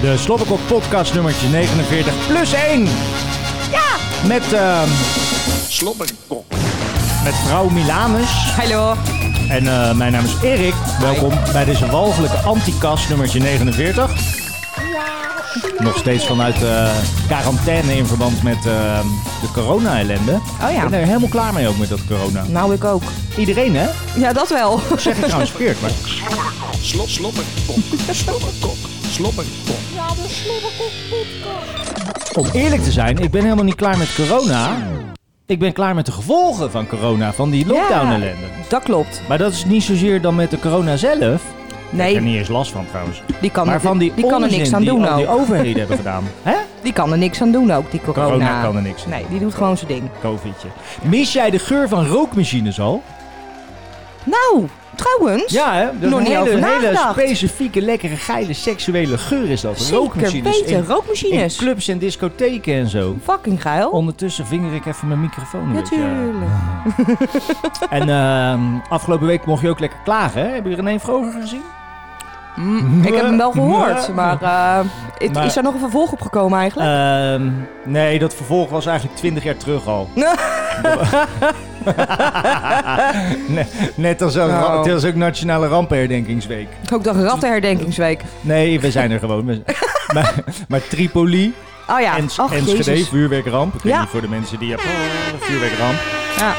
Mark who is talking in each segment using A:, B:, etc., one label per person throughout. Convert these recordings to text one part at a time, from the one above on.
A: De Slobberkok podcast nummertje 49 plus 1. Ja! Met, ehm
B: Slobberkok.
A: met vrouw Milanus.
C: Hallo.
A: En eh, mijn naam is Erik. Welkom bij deze walgelijke antikast nummertje 49. Nog steeds vanuit eh, quarantaine in verband met ehm, de corona-ellende.
C: ja.
A: Ik ben er helemaal klaar mee ook met dat corona.
C: Nou, ik ook.
A: Iedereen hè?
C: Ja, dat wel.
A: Zeg ik trouwens verkeerd, maar...
B: Slop, slobberkok. Slobberkok. Slobberkok.
A: Om eerlijk te zijn, ik ben helemaal niet klaar met corona. Ik ben klaar met de gevolgen van corona, van die lockdown-ellende.
C: Dat klopt.
A: Maar dat is niet zozeer dan met de corona zelf. Ik heb er
C: Nee,
A: niet eens last van trouwens.
C: die kan,
A: maar van die,
C: die kan er
A: onzin
C: niks aan
A: die
C: doen nou.
A: al die
C: ook.
A: overheden hebben gedaan. Hè?
C: Die kan er niks aan doen ook, die corona.
A: Corona kan er niks aan
C: Nee, die doet gewoon zijn ding.
A: Covidje. Mis jij de geur van rookmachines al?
C: Nou, trouwens.
A: Ja hè? Dat is
C: Nog
A: een
C: niet
A: hele,
C: over
A: hele
C: nagedacht.
A: specifieke, lekkere, geile, seksuele geur is dat.
C: Zeker
A: rookmachines
C: weten,
A: in, in
C: rookmachines.
A: clubs en discotheken en zo.
C: Fucking geil.
A: Ondertussen vinger ik even mijn microfoon een beetje.
C: Oh. Natuurlijk.
A: En ehm, afgelopen week mocht je ook lekker klagen, hè? Heb je René Vroger gezien?
C: Mm, ik heb hem wel gehoord,
A: Mwah.
C: maar, eh, het-
A: Maar-
C: is er nog een vervolg op gekomen eigenlijk?
A: Ehm, nee, dat vervolg was eigenlijk twintig jaar terug al. Nee, net als ook,
C: Nou.
A: het is ook Nationale Rampenherdenkingsweek.
C: ook de rattenherdenkingsweek.
A: Nee, we zijn er gewoon. We zijn- maar, maar Tripoli,
C: Oh ja,
A: en
C: ach
A: Enschede,
C: jezus.
A: vuurwerkramp. Ik weet
C: Ja.
A: niet voor de mensen die... hebben. oh, vuurwerkramp.
C: Ja.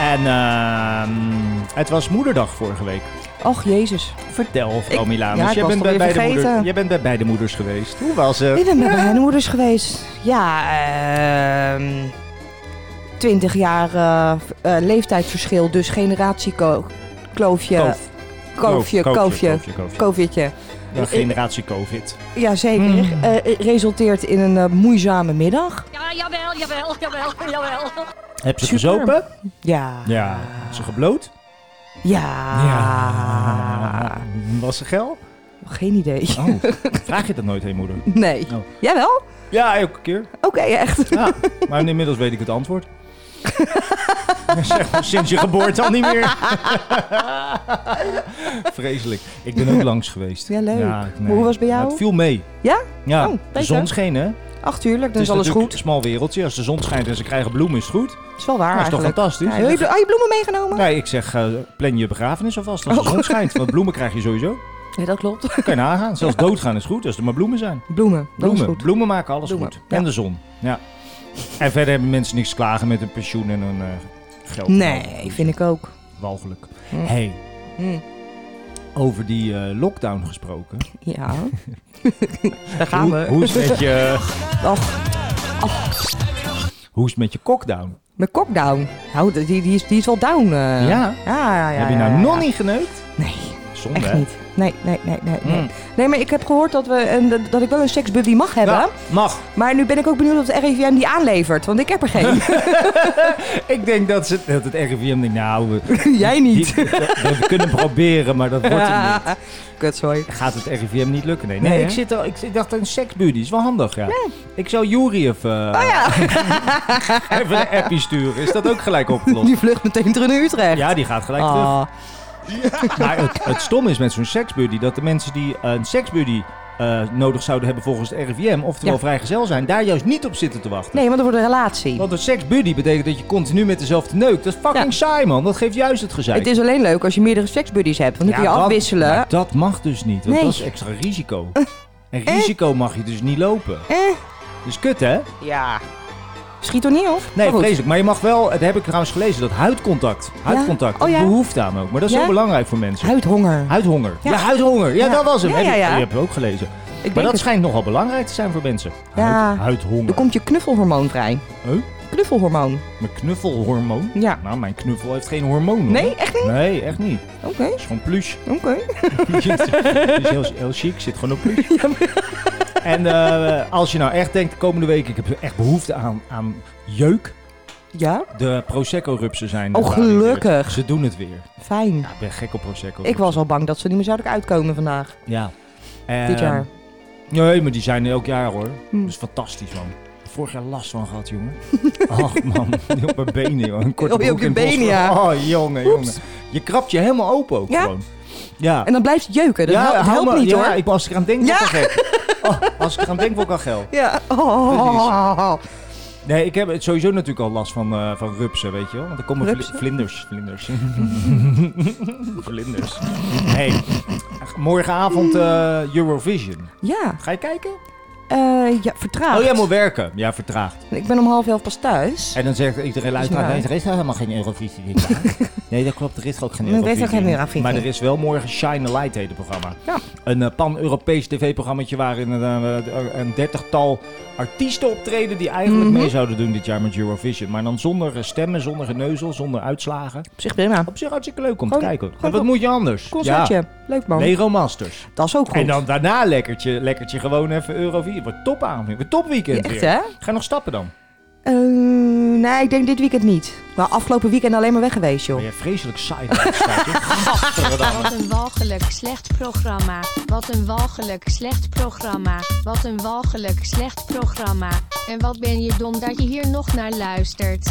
A: En ehm, het was moederdag vorige week.
C: Och jezus.
A: Vertel, vrouw
C: Ik-
A: Milanus.
C: ja, ik
A: jij
C: was
A: bent
C: het
A: bij,
C: alweer
A: bij de moeder,
C: vergeten.
A: jij bent bij beide moeders geweest. Hoe was
C: Ik
A: het?
C: ben bij mijn moeders geweest. Ja, ehm 20 jaar eh, v- eh, leeftijdsverschil, dus generatiekloofje.
A: Koof.
C: Koofje, koofje,
A: koofje, koofje.
C: koofje.
A: Ja, generatie COVID.
C: Jazeker.
A: Mm.
C: Eh, eh, resulteert in een eh, moeizame middag.
D: Ja, jawel, jawel, jawel, jawel.
A: Heb ze
C: Super.
A: gezopen?
C: Ja.
A: Ja. Ze gebloot?
C: Ja.
A: Was ze geil?
C: Geen idee.
A: Oh, vraag je dat nooit heen, moeder?
C: Nee.
A: Oh.
C: Jawel?
A: Ja, elke keer.
C: Oké, echt.
A: Ja, maar inmiddels weet ik het antwoord. zeg maar, sinds je geboorte al niet meer. Vreselijk. Ik ben ook langs geweest.
C: Ja, leuk.
A: nee.
C: Hoe was het bij jou?
A: Maar het viel mee.
C: Ja?
A: Ja,
C: Oh,
A: de
C: beter.
A: zon scheen, hè?
C: Ach, tuurlijk.
A: Het
C: Dan is dus alles goed.
A: natuurlijk een smal wereldje. Als de zon schijnt en ze krijgen bloemen, is het goed.
C: Dat is wel waar
A: dat is toch
C: eigenlijk.
A: fantastisch?
C: Ja, heb je, ah, je bloemen meegenomen?
A: Nee, ik zeg, eh, plan je begrafenis alvast als de
C: Oh.
A: zon schijnt. Want bloemen krijg je sowieso.
C: Nee, dat klopt.
A: Dan kan je nagaan. Zelfs doodgaan is goed als er maar bloemen zijn.
C: Bloemen. Dat is
A: Bloemen.
C: goed.
A: Bloemen maken alles
C: Bloemen,
A: goed.
C: ja.
A: En de zon. Ja. En verder hebben mensen niks te klagen met hun pensioen en hun eh, geld.
C: Nee, vind ik ook.
A: Walgelijk.
C: Mm.
A: hey,
C: Hm.
A: over die eh, lockdown gesproken.
C: Ja. Daar gaan
A: Hoe,
C: we.
A: hoe, is het met je,
C: Ach,
A: hoe is het met je cockdown?
C: mijn kok down. Nou, die, die, is, die is wel down. eh.
A: Ja?
C: Ja, ja, ja.
A: Heb je
C: ja,
A: nou
C: ja,
A: nog
C: ja.
A: niet geneukt?
C: Nee,
A: Zonde,
C: echt
A: hè?
C: niet. Nee, nee, nee, nee. Nee,
A: Mm.
C: nee maar ik heb gehoord dat, we, en dat- dat ik wel een seksbuddy mag hebben.
A: Ja, Nou, mag.
C: Maar nu ben ik ook benieuwd of de RIVM die aanlevert. Want ik heb er geen.
A: Ik denk dat, ze, dat het RIVM denkt, nou... We,
C: Jij niet.
A: die- dat- dat we kunnen proberen, maar dat wordt het niet.
C: Kut, sorry.
A: Gaat het RIVM niet lukken? Nee, nee,
C: Nee, hè?
A: ik, zit al, ik, ik dacht een seksbuddy. Is wel handig, ja. Ik zou Jury even, eh,
C: Oh,
A: even een appie sturen. Is dat ook gelijk opgelost?
C: Die vlucht meteen terug naar Utrecht.
A: Ja, die gaat gelijk terug.
C: Ah,
A: Maar het, het stom is met zo'n seksbuddy dat de mensen die eh, een seksbuddy eh, nodig zouden hebben volgens het RIVM, oftewel
C: Ja.
A: vrijgezel zijn, daar juist niet op zitten te wachten.
C: Nee, want er wordt een relatie.
A: Want een seksbuddy betekent dat je continu met dezelfde neukt. Dat is fucking
C: Ja.
A: saai, man. Dat geeft juist het gezeik.
C: Het is alleen leuk als je meerdere seksbuddies hebt. Want dan kun je
A: dat-
C: afwisselen.
A: maar dat mag dus niet, want
C: Nee.
A: dat is extra risico. En risico mag je dus niet lopen.
C: Eh,
A: Dus kut, hè?
C: ja. Schiet er niet op.
A: Nee,
C: Maar goed.
A: vreselijk. Maar je mag wel, dat heb ik trouwens gelezen, dat huidcontact. Huidcontact,
C: Oh,
A: dat
C: ja.
A: behoeft aan ook. Maar dat is
C: Ja?
A: zo belangrijk voor mensen.
C: Huidhonger.
A: Huidhonger. Ja,
C: Ja.
A: huidhonger. Ja,
C: Ja.
A: dat was hem.
C: Ja,
A: Heb
C: ja,
A: je-
C: ja.
A: Die heb ik ook gelezen.
C: Ik
A: maar
C: denk
A: dat
C: het.
A: schijnt nogal belangrijk te zijn voor mensen.
C: Ja.
A: Huid, huidhonger.
C: Er komt je knuffelhormoon vrij.
A: Huh?
C: Knuffelhormoon.
A: Mijn knuffelhormoon.
C: Ja.
A: Nou, mijn knuffel heeft geen hormoon. hoor.
C: Nee, echt niet?
A: Nee, echt niet.
C: Oké,
A: Het is gewoon pluche.
C: oké.
A: Die is heel, heel chic, zit gewoon op plus. En eh, als je nou echt denkt, de komende week, ik heb echt behoefte aan, aan jeuk.
C: Ja,
A: De Prosecco-rupsen zijn...
C: Oh,
A: er gearriveerd.
C: gelukkig.
A: Ze doen het weer.
C: fijn.
A: Ja, ik ben gek op Prosecco.
C: Ik was al bang dat ze niet meer zouden uitkomen vandaag.
A: Ja. En-
C: dit jaar.
A: Nee, maar die zijn elk jaar hoor.
C: Hm.
A: Dat is fantastisch man. Vorig jaar last van gehad, jongen. Ach man, op mijn benen, jongen. Een korte
C: Oh, je
A: broek
C: op je
A: in
C: benen,
A: Boschel.
C: ja.
A: Oh, jongen, jongen. Je krabt je helemaal open ook
C: Ja?
A: gewoon. Ja.
C: En dan blijft het jeuken. Dat helpt,
A: hou
C: helpt
A: me-
C: niet
A: ja,
C: hoor.
A: Ik, als ik eraan denk,
C: Ja.
A: word ik al gek. Oh, als ik eraan denk, word ik al gel.
C: Ja. Oh.
A: Nee, ik heb het sowieso natuurlijk al last van, eh, van rupsen, weet je wel. Want er komen vli-
C: Rupsen?
A: vlinders. Vlinders. vlinders. Hey, morgenavond eh, Eurovision.
C: Ja.
A: Ga je kijken?
C: Eh, ja, vertraagd.
A: Oh, jij moet werken. Ja, vertraagd.
C: Ik ben om half elf pas thuis.
A: En dan zegt iedereen luisteraar,
C: waar.
A: nee, er is helemaal geen Eurovisie dit jaar. nee, dat klopt, er is ook geen
C: Nee, er is ook
A: Eurovisie.
C: geen Eurovisie.
A: Maar er is wel morgen Shine a Light heet het programma.
C: Ja.
A: Een eh, pan-Europees tv-programmaatje waarin eh, eh, een dertigtal artiesten optreden die eigenlijk
C: Mhm.
A: mee zouden doen dit jaar met Eurovision. Maar dan zonder eh, stemmen, zonder geneuzel, zonder uitslagen.
C: Op zich prima.
A: Op zich hartstikke leuk om te
C: Gewoon-
A: kijken.
C: gewoon
A: En wat
C: een
A: moet je anders?
C: Concertje. Leuk
A: Ja,
C: man.
A: Lego Masters.
C: Dat is ook goed.
A: En dan daarna lekkertje, lekkertje gewoon even Eurovisie. Wat top aan. Wat top weekend
C: Ja, echt
A: weer.
C: hè?
A: Ga je nog stappen dan?
C: Eh, nee, ik denk dit weekend niet. Maar afgelopen weekend alleen maar weg geweest joh.
A: Ben je vreselijk saai aan het kijken? Gadverdamme.
E: Wat een walgelijk slecht programma. Wat een walgelijk slecht programma. Wat een walgelijk slecht programma. En wat ben je dom dat je hier nog naar luistert.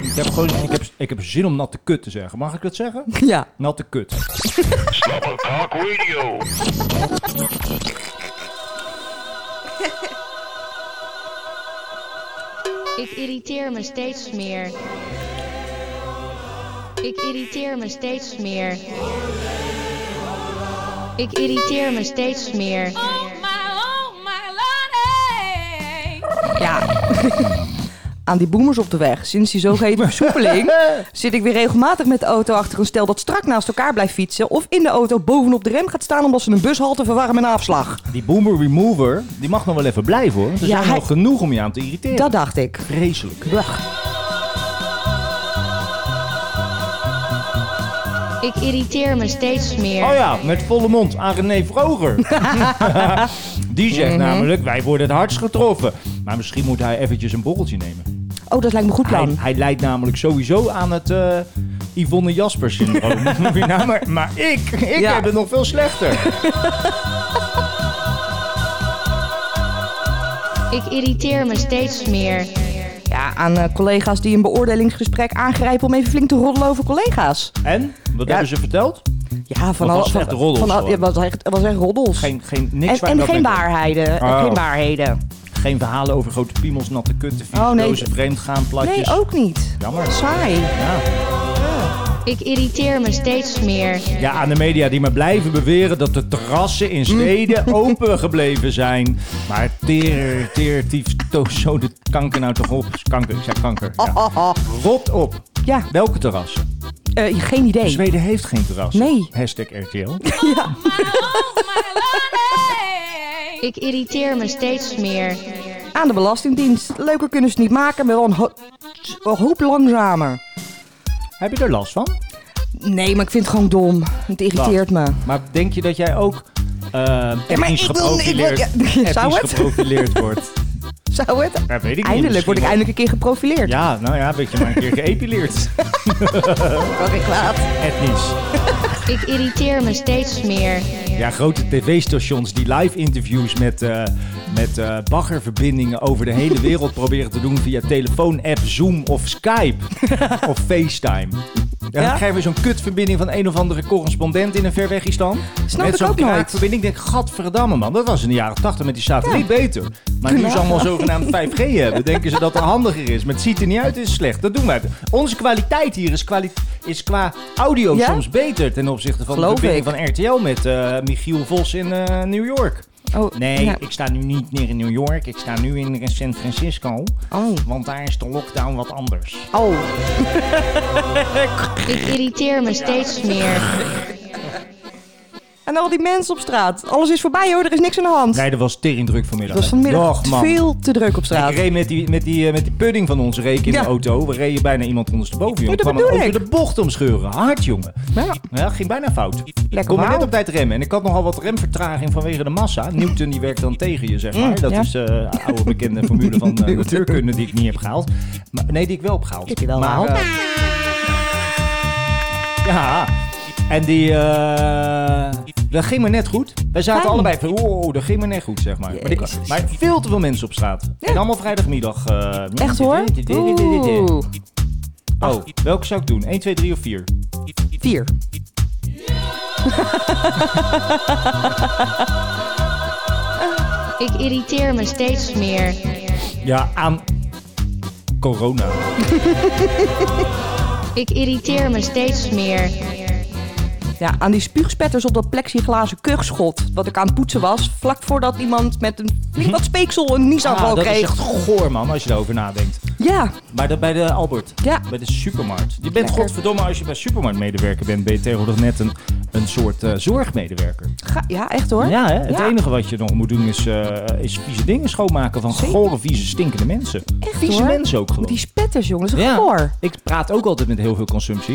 A: Ik heb gewoon ik heb, ik heb zin om natte kut te zeggen. Mag ik dat zeggen?
C: Ja.
A: Natte kut.
E: Ik irriteer me steeds meer. Ik irriteer me steeds meer. Ik irriteer me steeds meer.
C: Ja. Aan die boemers op de weg. Sinds die zogeheten versoepeling zit ik weer regelmatig met de auto achter een stel dat strak naast elkaar blijft fietsen. Of in de auto bovenop de rem gaat staan omdat ze een bushalte verwarren met een afslag.
A: Die boomer remover, die mag nog wel even blijven hoor. Want er
C: Ja,
A: zijn
C: hij-
A: nog genoeg om je aan te irriteren.
C: Dat dacht ik.
A: Vreselijk.
E: Ik irriteer me steeds meer.
A: Oh ja, met volle mond aan René Vroger. die zegt
C: Mhm.
A: namelijk, wij worden het hardst getroffen. Maar misschien moet hij eventjes een borreltje nemen.
C: Oh, dat lijkt me een goed
A: Hij,
C: plan.
A: hij leidt namelijk sowieso aan het eh, Yvonne Jasper syndroom. nou, maar, maar ik, ik
C: Ja.
A: heb het nog veel slechter.
E: Ik irriteer me steeds meer.
C: Ja, aan eh, collega's die een beoordelingsgesprek aangrijpen om even flink te roddelen over collega's.
A: En, wat
C: Ja.
A: hebben ze verteld?
C: Ja, van
A: Dat
C: al-
A: was
C: van-
A: echt roddels
C: van al-
A: gewoon.
C: Ja, dat was echt, dat was echt roddels.
A: Geen, geen, niks
C: en
A: waar
C: en
A: je dat
C: geen
A: mee kan.
C: waarheden.
A: Oh.
C: En geen waarheden.
A: Geen verhalen over grote piemels, natte kutten, vieze
C: Oh, nee.
A: dozen, vreemdgaan, platjes.
C: Nee, ook niet.
A: Jammer.
C: Saai.
A: Ja.
E: Ik irriteer me steeds meer.
A: Ja, aan de media die maar blijven beweren dat de terrassen
C: Mm.
A: in steden open gebleven zijn. Maar teer, teer, tief, to, zo de kanker nou toch op. Kanker, ik zei kanker. Ja.
C: Oh, oh.
A: Rot op.
C: Ja,
A: Welke terrassen?
C: eh, geen idee.
A: Zweden heeft geen terrassen.
C: Nee.
A: Hashtag RTL.
C: Ja.
E: Ik irriteer me steeds meer.
C: Aan de Belastingdienst. Leuker kunnen ze het niet maken, maar wel een, ho- een hoop langzamer.
A: Heb je er last van?
C: Nee, maar ik vind het gewoon dom. Het irriteert me.
A: Maar denk je dat jij ook eh etnisch
C: ik wil- ik wil-
A: geprofileerd,
C: ja, zou
A: etnisch
C: het?
A: geprofileerd wordt?
C: Zou het?
A: Ja, weet ik niet.
C: Eindelijk word ik
A: Misschien wel.
C: eindelijk een keer geprofileerd.
A: Ja, nou ja, weet je maar een keer geëpileerd.
C: Kan ik kwaad.
A: Etnisch.
E: Ik irriteer me steeds meer.
A: Ja, grote tv-stations die live-interviews met, eh, met eh, baggerverbindingen over de hele wereld proberen te doen via telefoon-app, Zoom of Skype of FaceTime. Ja,
C: Ja?
A: Dan krijgen we zo'n kutverbinding van een of andere correspondent in een verwegistan.
C: Snap
A: met
C: ik
A: zo'n
C: ook nooit.
A: kraakverbinding. Ik denk, gadverdamme man, dat was in de jaren 80 met die satelliet beter. Maar nu ze allemaal zogenaamd 5G hebben, denken ze dat dat handiger is. Maar het ziet er niet uit, het is slecht. Dat doen wij. Onze kwaliteit hier is, kwali- is qua audio
C: Ja?
A: soms beter ten opzichte van
C: Geloof
A: de verbinding
C: ik.
A: van RTL met eh, Michiel Vos in eh, New York.
C: Oh,
A: Nee,
C: ja.
A: ik sta nu niet meer in New York. Ik sta nu in eh, San Francisco.
C: Oh.
A: Want daar is de lockdown wat anders.
C: Oh.
E: Ik irriteer me steeds meer.
C: En al die mensen op straat. Alles is voorbij hoor, er is niks aan de hand.
A: Nee, dat was teringdruk vanmiddag.
C: Het was vanmiddag
A: Dag, man.
C: veel te druk op straat.
A: Ik reed met die, met, die, eh, met die pudding van onze reek in
C: Ja.
A: de auto. We reden bijna iemand ondersteboven, jongen.
C: Ja, dat
A: kwam
C: bedoel
A: er over
C: ik.
A: de bocht omscheuren. Hard, jongen.
C: Ja.
A: Nou Ja, ging bijna fout. Ik
C: Lekker
A: kon maar
C: wauw.
A: net op tijd remmen. En ik had nogal wat remvertraging vanwege de massa. Newton die werkt dan tegen je, zeg maar. dat
C: Mm, ja.
A: is eh, de oude bekende formule van eh, natuurkunde die ik niet heb gehaald. Maar, nee, die ik wel heb gehaald.
C: Heb je wel
A: Maar,
C: gehaald?
A: eh, ja. En die... eh, dat ging me net goed. Wij zaten
C: Fijn.
A: allebei van... Wow, dat ging me net goed, zeg maar. Maar, die-
C: Jezus.
A: maar veel te veel mensen op straat.
C: Ja.
A: En allemaal vrijdagmiddag. eh,
C: Echt hoor? Oeh.
A: Oh, welke zou ik doen? 1, 2, 3 of 4?
C: Vier.
E: Ik irriteer me steeds meer.
A: Ja, aan corona.
E: Ik irriteer me steeds meer.
C: Ja, aan die spuugspetters op dat plexiglazen kuchschot. Wat ik aan het poetsen was. Vlak voordat iemand met een flink wat speeksel een
A: Ah,
C: niesaanval
A: dat is
C: kreeg.
A: echt goor, man, als je erover nadenkt.
C: Ja,
A: Maar dat bij de Albert,
C: Ja.
A: bij de supermarkt. Je bent
C: Lekker.
A: godverdomme, als je bij supermarktmedewerker bent, ben je tegenwoordig net een, een soort eh, zorgmedewerker.
C: ga, ja echt hoor.
A: Ja, hè? het
C: Ja.
A: enige wat je nog moet doen is, eh, is vieze dingen schoonmaken van
C: Zeker.
A: gore, vieze, stinkende mensen. Echt, vieze
C: hoor.
A: mensen ook gewoon.
C: Die spetters, jongens. Dat is
A: ja,
C: goor.
A: ik praat ook altijd met heel veel consumptie.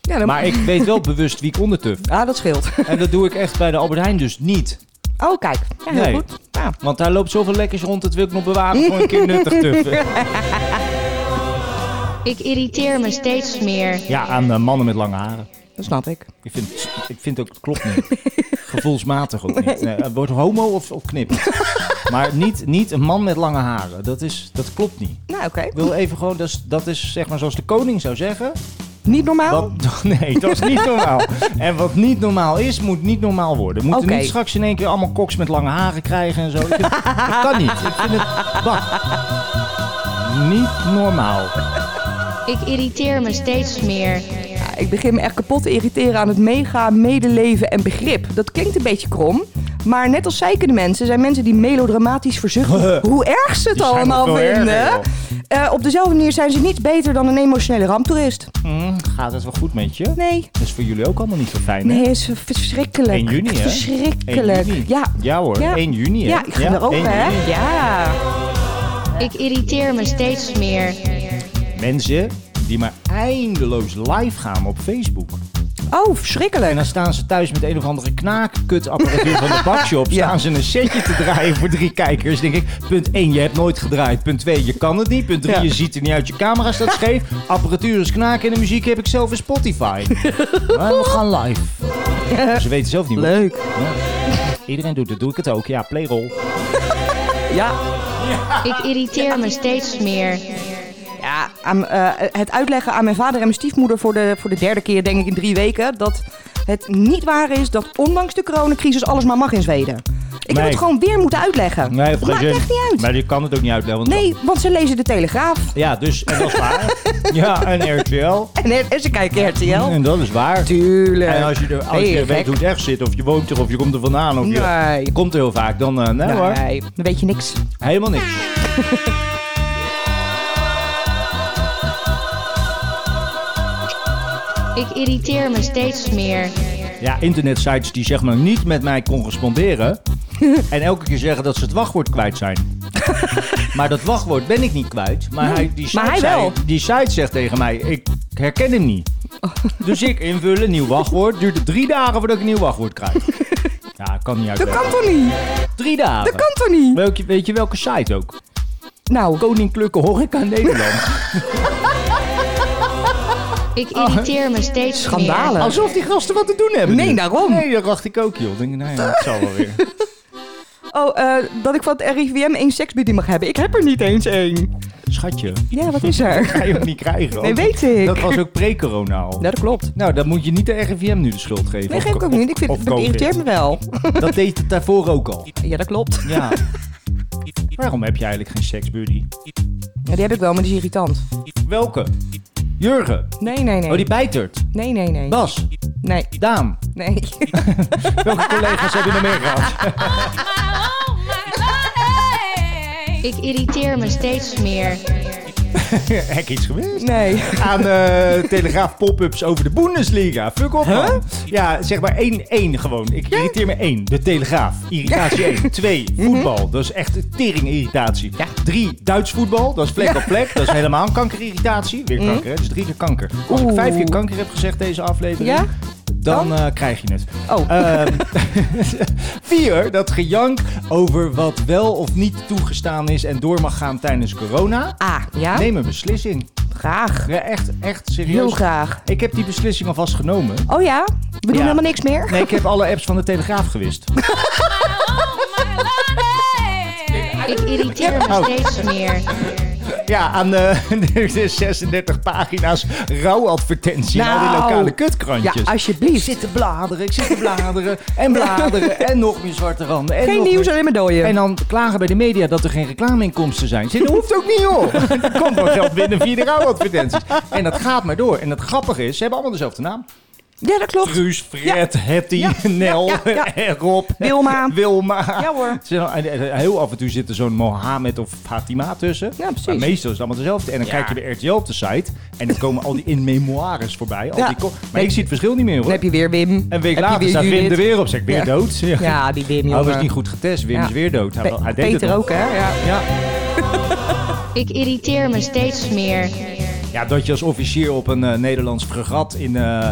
C: Ja, dan-
A: Maar ik weet wel bewust wie ik ondertuf.
C: Ah, dat scheelt.
A: En dat doe ik echt bij de Albert Heijn dus niet.
C: Oh, kijk. Ja, heel
A: Nee.
C: goed. Ja.
A: Want daar loopt zoveel lekkers rond, dat wil ik nog bewaren voor een keer nuttig tuffen.
E: Ik irriteer me steeds meer.
A: Ja, aan eh, mannen met lange haren.
C: Dat snap ik.
A: Ik vind, ik vind ook, het klopt niet. Gevoelsmatig ook niet. Nee, het wordt homo of, of knip. maar niet, niet een man met lange haren. Dat, is, dat klopt niet.
C: Nou, oké.
A: Ik wil even gewoon, dat is, dat is zeg maar zoals de koning zou zeggen.
C: Niet normaal?
A: Wat, nee, dat is niet normaal. en wat niet normaal is, moet niet normaal worden. We moeten
C: Oké.
A: niet straks in één keer allemaal koks met lange haren krijgen en zo. Ik vind- dat kan niet. Ik vind het... Wacht. Niet normaal.
E: Ik irriteer me steeds meer.
C: Ja, ik begin me echt kapot te irriteren aan het mega medeleven en begrip. Dat klinkt een beetje krom. Maar net als zeikende mensen zijn mensen die melodramatisch verzuchten hoe erg ze het
A: Die zijn
C: allemaal
A: nog veel
C: vinden.
A: erger, joh.
C: Eh, op dezelfde manier zijn ze niets beter dan een emotionele ramptoerist.
A: Hm, gaat het wel goed met je?
C: Nee.
A: Dat is voor jullie ook allemaal niet zo fijn, hè?
C: Nee, is verschrikkelijk.
A: 1 juni, hè?
C: Verschrikkelijk.
A: 1 juni.
C: Ja.
A: Ja hoor, 1 juni, hè?
C: Ja, ik ga
A: Ja,
C: er ook,
A: 1
C: hè?
A: juni.
C: Ja.
E: Ik irriteer me steeds meer.
A: Mensen die maar eindeloos live gaan op Facebook.
C: Oh,
A: En
C: verschrikkelijk.
A: dan staan ze thuis met een of andere knaakkutapparatuur van de bakshop.
C: Ja.
A: Staan ze een setje te draaien voor drie kijkers. Denk ik, punt 1, je hebt nooit gedraaid. Punt 2, je kan het niet. Punt 3,
C: Ja.
A: je ziet er niet uit. Je camera staat scheef. Apparatuur is knaken en de muziek heb ik zelf in Spotify. maar we gaan live. Ze weten zelf niet hoe-
C: Leuk.
A: Ja. Iedereen doet het, doe ik het ook. Ja, playroll.
C: Ja.
E: Ik irriteer me steeds meer.
C: ja aan, eh, het uitleggen aan mijn vader en mijn stiefmoeder voor de, voor de derde keer, denk ik, in drie weken. Dat het niet waar is dat ondanks de coronacrisis alles maar mag in Zweden. Ik
A: Nee.
C: heb het gewoon weer moeten uitleggen.
A: Nee,
C: dat maakt echt niet uit.
A: Maar je kan het ook niet uitleggen. want-
C: Nee, want ze lezen de Telegraaf.
A: Ja, dus, en dat is waar. ja, en RTL.
C: En, en ze kijken RTL.
A: En dat is waar.
C: Tuurlijk.
A: En als je, er, als
C: Eh, Ben
A: je weet
C: gek?
A: hoe het echt zit, of je woont er, of je komt er vandaan, of je
C: Nee.
A: komt er heel vaak, dan eh, nee, hoor.
C: Nee, dan weet je niks.
A: Helemaal niks.
E: Ik irriteer me steeds meer.
A: Ja, internetsites die zeg maar niet met mij corresponderen en elke keer zeggen dat ze het wachtwoord kwijt zijn. maar dat wachtwoord ben ik niet kwijt. Maar, hij, die, site
C: maar hij
A: zei-
C: wel. Oh.
A: die site zegt tegen mij, ik herken hem niet. Dus ik invullen, nieuw wachtwoord. Duurt het drie dagen voordat ik een nieuw wachtwoord krijg. Ja, kan niet
C: Dat
A: uitleggen.
C: kan toch niet?
A: Drie dagen.
C: Dat kan toch niet?
A: Weet je, weet je welke site ook?
C: Nou,
A: Koninklijke Horeca Nederland.
E: Ik irriteer me steeds
C: Schandalen.
E: meer.
A: Alsof die gasten wat te doen hebben.
C: Nee,
A: nu.
C: daarom.
A: Nee, dat dacht ik ook, joh. Ik Denk, nee, dat zal wel weer.
C: oh, eh, dat ik van het RIVM één seksbiedie mag hebben. Ik heb er niet eens één.
A: Schatje,
C: Ja, wat is er?
A: ga je ook niet krijgen.
C: Nee,
A: want
C: weet ik.
A: Dat was ook pre-corona al.
C: Ja, dat klopt.
A: Nou, dan moet je niet de RIVM nu de schuld geven.
C: Nee,
A: Of
C: geef ik
A: co-
C: ook niet. Ik vind
A: of
C: het
A: COVID.
C: irriteert me wel.
A: Dat deed het daarvoor ook al.
C: Ja, dat klopt.
A: Ja. Waarom heb je eigenlijk geen seksbuddy?
C: Ja, die heb ik wel, maar die is irritant.
A: Welke? Jurgen.
C: Nee, nee, nee.
A: Oh, die bijtert.
C: Nee, nee, nee.
A: Bas.
C: Nee,
A: Daan.
C: nee.
A: Welke collega's hebben er meer gehad?
E: Ik irriteer me steeds meer.
A: Hek iets geweest?
C: Nee.
A: aan eh, Telegraaf pop-ups over de Bundesliga. Fuck op, man. Ja, zeg maar 1-1 gewoon. Ik irriteer me 1. De Telegraaf. Irritatie 1. 2.
C: Mhm.
A: Voetbal. Dat is echt een tering-irritatie. 3. Duits voetbal. Dat is vlek op plek. Dat is helemaal kankerirritatie. Weer kanker, hè? Dus drie keer kanker. Als ik
C: Mhm. Oeh.
A: vijf keer kanker heb gezegd deze aflevering...
C: Ja?
A: Dan,
C: Dan?
A: eh, krijg je het.
C: Oh.
A: Ehm, vier, dat gejank over wat wel of niet toegestaan is en door mag gaan tijdens corona.
C: Ah, ja?
A: Neem een beslissing.
C: Graag.
A: Ja, echt, echt serieus.
C: Heel graag.
A: Ik heb die beslissing alvast genomen.
C: Oh ja? We doen
A: Ja.
C: helemaal niks meer?
A: Nee, ik heb alle apps van de Telegraaf gewist.
E: Ik irriteer me
A: Oh.
E: steeds meer.
A: ja, aan de, er is 36 pagina's rouwadvertentie in al die
C: Nou.
A: lokale kutkrantjes.
C: Ja,
A: ik
C: alsjeblieft.
A: zit te bladeren, ik zit te bladeren en bladeren en nog meer zwarte randen. En
C: Geen
A: nog
C: nieuws,
A: meer.
C: alleen maar dooien.
A: En dan klagen bij de media dat er geen reclameinkomsten zijn. Zit, dat hoeft ook niet, joh. Er komt wel geld binnen via de rouwadvertenties. En dat gaat maar door. En het grappige is, ze hebben allemaal dezelfde naam.
C: Ja, dat klopt.
A: Truus, Fred, Hetty,
C: Ja, ja,
A: Nel,
C: ja, ja.
A: en Rob.
C: Wilma.
A: Wilma.
C: Ja, hoor.
A: Ze- en- en Heel af en toe zit er zo'n Mohammed of Fatima tussen.
C: Ja, precies.
A: Maar meestal is het allemaal dezelfde. En dan kijk je bij RTL op de site. En dan komen al die in memoires voorbij. Al
C: Ja.
A: die ko- maar
C: Nee.
A: ik zie het verschil niet meer hoor.
C: Dan heb je weer Wim.
A: Een week
C: Heb je
A: later
C: weer
A: staat Wim
C: Judith.
A: er weer op. Zeg, ik ben je
C: Ja.
A: dood? Zeg.
C: Ja, die Wim,
A: Hij was
C: jongen.
A: niet goed getest. Wim
C: Ja.
A: is weer dood. Hij,
C: Pe-
A: hij deed
C: Peter
A: het nog.
C: ook, hè? Ja.
A: Ja.
E: Ik irriteer me steeds meer.
A: ja, dat je als officier op een eh, Nederlands fregat in, eh,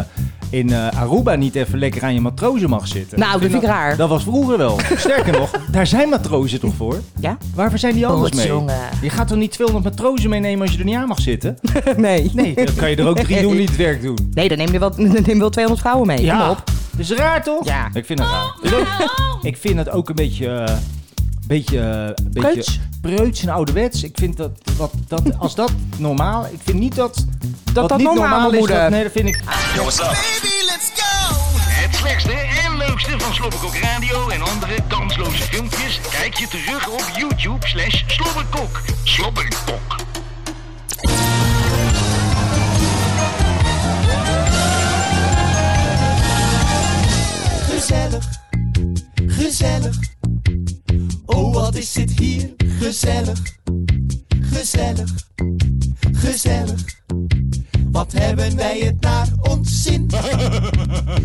A: in eh, Aruba niet even lekker aan je matrozen mag zitten.
C: Nou, dat vind ik raar.
A: Dat was vroeger wel. Sterker nog, daar zijn matrozen toch voor?
C: Ja?
A: Waarvoor zijn die anders mee?
C: Bootjongen.
A: Je gaat toch niet 200 matrozen meenemen als je er niet aan mag zitten?
C: Nee.
A: Nee, dan kan je er ook drie doen die het werk doen.
C: Nee, dan neem je wel, dan neem je wel 200 vrouwen mee. Kom op.
A: Dat is raar toch?
C: Ja.
A: Ik vind het raar. Dus ook- ik vind het ook een beetje... eh, beetje, eh, beetje
C: Preuts.
A: preuts en ouderwets. Ik vind dat, wat, dat als dat normaal... Ik vind niet dat... Dat
C: dat
A: niet
C: normaal moet,
A: is. Dat,
C: eh.
A: nee, dat vind ik...
F: Baby, let's go!
G: Het slechtste en leukste van Slobberkok Radio en andere kansloze filmpjes kijk je terug op YouTube slash Slobberkok. Slobberkok.
F: Gezellig, gezellig. Oh, wat is dit hier gezellig, gezellig, gezellig. Wat hebben wij het naar ons zin?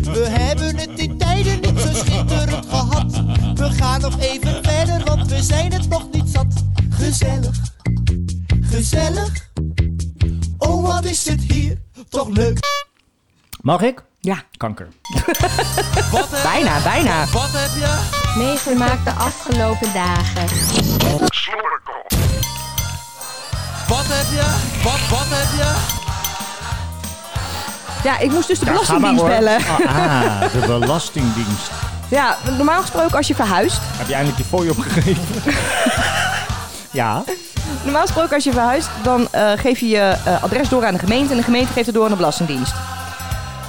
F: We hebben het in tijden niet zo schitterend gehad. We gaan nog even verder, want we zijn het nog niet zat. Gezellig, gezellig. Oh, wat is het hier toch leuk?
A: Mag ik?
C: Ja,
A: Kanker.
C: bijna, bijna.
F: Wat heb je?
E: Meegemaakt de afgelopen dagen.
G: Slobberkok.
F: Wat heb je? Wat, wat heb je?
C: Ja, ik moest dus de
A: Ja, ga maar,
C: Belastingdienst
A: hoor.
C: bellen.
A: Ah, de Belastingdienst.
C: Ja, normaal gesproken als je verhuist.
A: Heb je eindelijk je fooi opgegeven? ja.
C: Normaal gesproken als je verhuist, dan eh, geef je je eh, adres door aan de gemeente. En de gemeente geeft het door aan de Belastingdienst.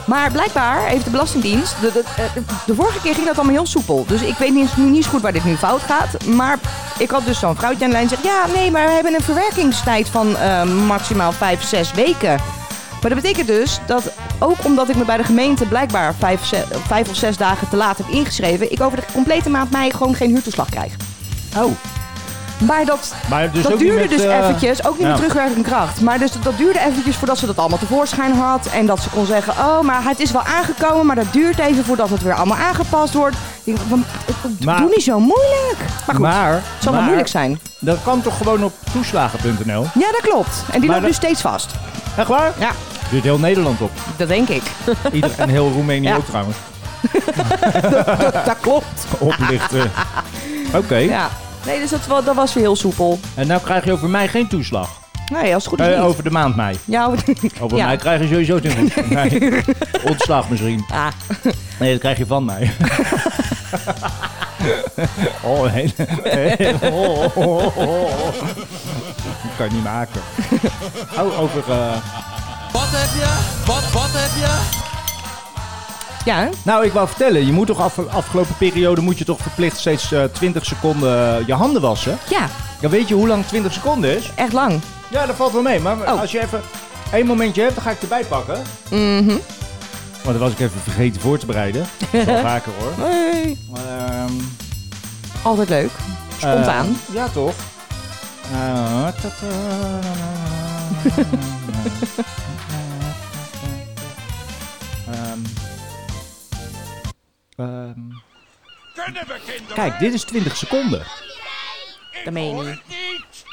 C: Maar blijkbaar heeft de Belastingdienst... De, de, eh, de- de vorige keer ging dat allemaal heel soepel. Dus ik weet niet, niet zo goed waar dit nu fout gaat. Maar ik had dus zo'n vrouwtje aan de lijn die zegt... Ja, nee, maar we hebben een verwerkingstijd van eh, maximaal 5, 6 weken. Maar dat betekent dus dat ook omdat ik me bij de gemeente blijkbaar vijf, ze- vijf of zes dagen te laat heb ingeschreven... ik over de complete maand mei gewoon geen huurtoeslag krijg.
A: Oh.
C: Maar dat,
A: Maar dus
C: dat
A: ook niet
C: duurde
A: met,
C: dus
A: eh,
C: eventjes, ook niet
A: ja.
C: met terugwerkende kracht. Maar dus dat duurde eventjes voordat ze dat allemaal tevoorschijn had. En dat ze kon zeggen, oh, maar het is wel aangekomen, maar dat duurt even voordat het weer allemaal aangepast wordt. Ik denk, "Wat- wat-
A: Maar-
C: doe niet zo moeilijk. Maar goed,
A: Maar,
C: het zal wel
A: maar-
C: moeilijk zijn.
A: Dat kan toch gewoon op toeslagen.nl?
C: Ja, dat klopt. En die
A: Maar
C: loopt nu
A: dat-
C: steeds vast.
A: Echt waar?
C: Ja,
A: Duurt heel Nederland op.
C: dat denk ik.
A: Ieder, en heel Roemenië
C: Ja.
A: ook trouwens.
C: dat klopt.
A: Oplichten. Oké.
C: Ja. Nee, dus dat, wa- dat was weer heel soepel.
A: En nou krijg je over mij geen toeslag.
C: Nee, als het goed is
A: Eh,
C: niet.
A: over de maand mei.
C: Ja,
A: Over
C: ja.
A: mij krijg je sowieso geen toeslag. Nee. Ontslag misschien.
C: Ah.
A: Nee, dat krijg je van mij. oh, hele... hele- oh, oh, oh, oh. Dat kan je niet maken. Oh, over... eh,
F: Wat heb je? Wat, wat heb je?
C: ja, hè?
A: Nou, ik wou vertellen, je moet toch af, afgelopen periode moet je toch verplicht steeds eh, 20 seconden eh, je handen wassen.
C: ja,
A: Dan weet je hoe lang 20 seconden is.
C: echt lang.
A: Ja, dat valt wel mee. Maar
C: Oh.
A: als je even één momentje hebt, dan ga ik erbij pakken. Mhm. Want dat was ik even vergeten voor te bereiden. Dat is wel vaker hoor.
C: Hey.
A: Ehm,
C: Altijd leuk. Spontaan.
A: eh, ja, toch? Eh, tata. Ehm. Ehm.
B: Kunnen we kinderen?
A: Kijk, dit is 20 seconden.
C: dat meen je niet.
B: Niet.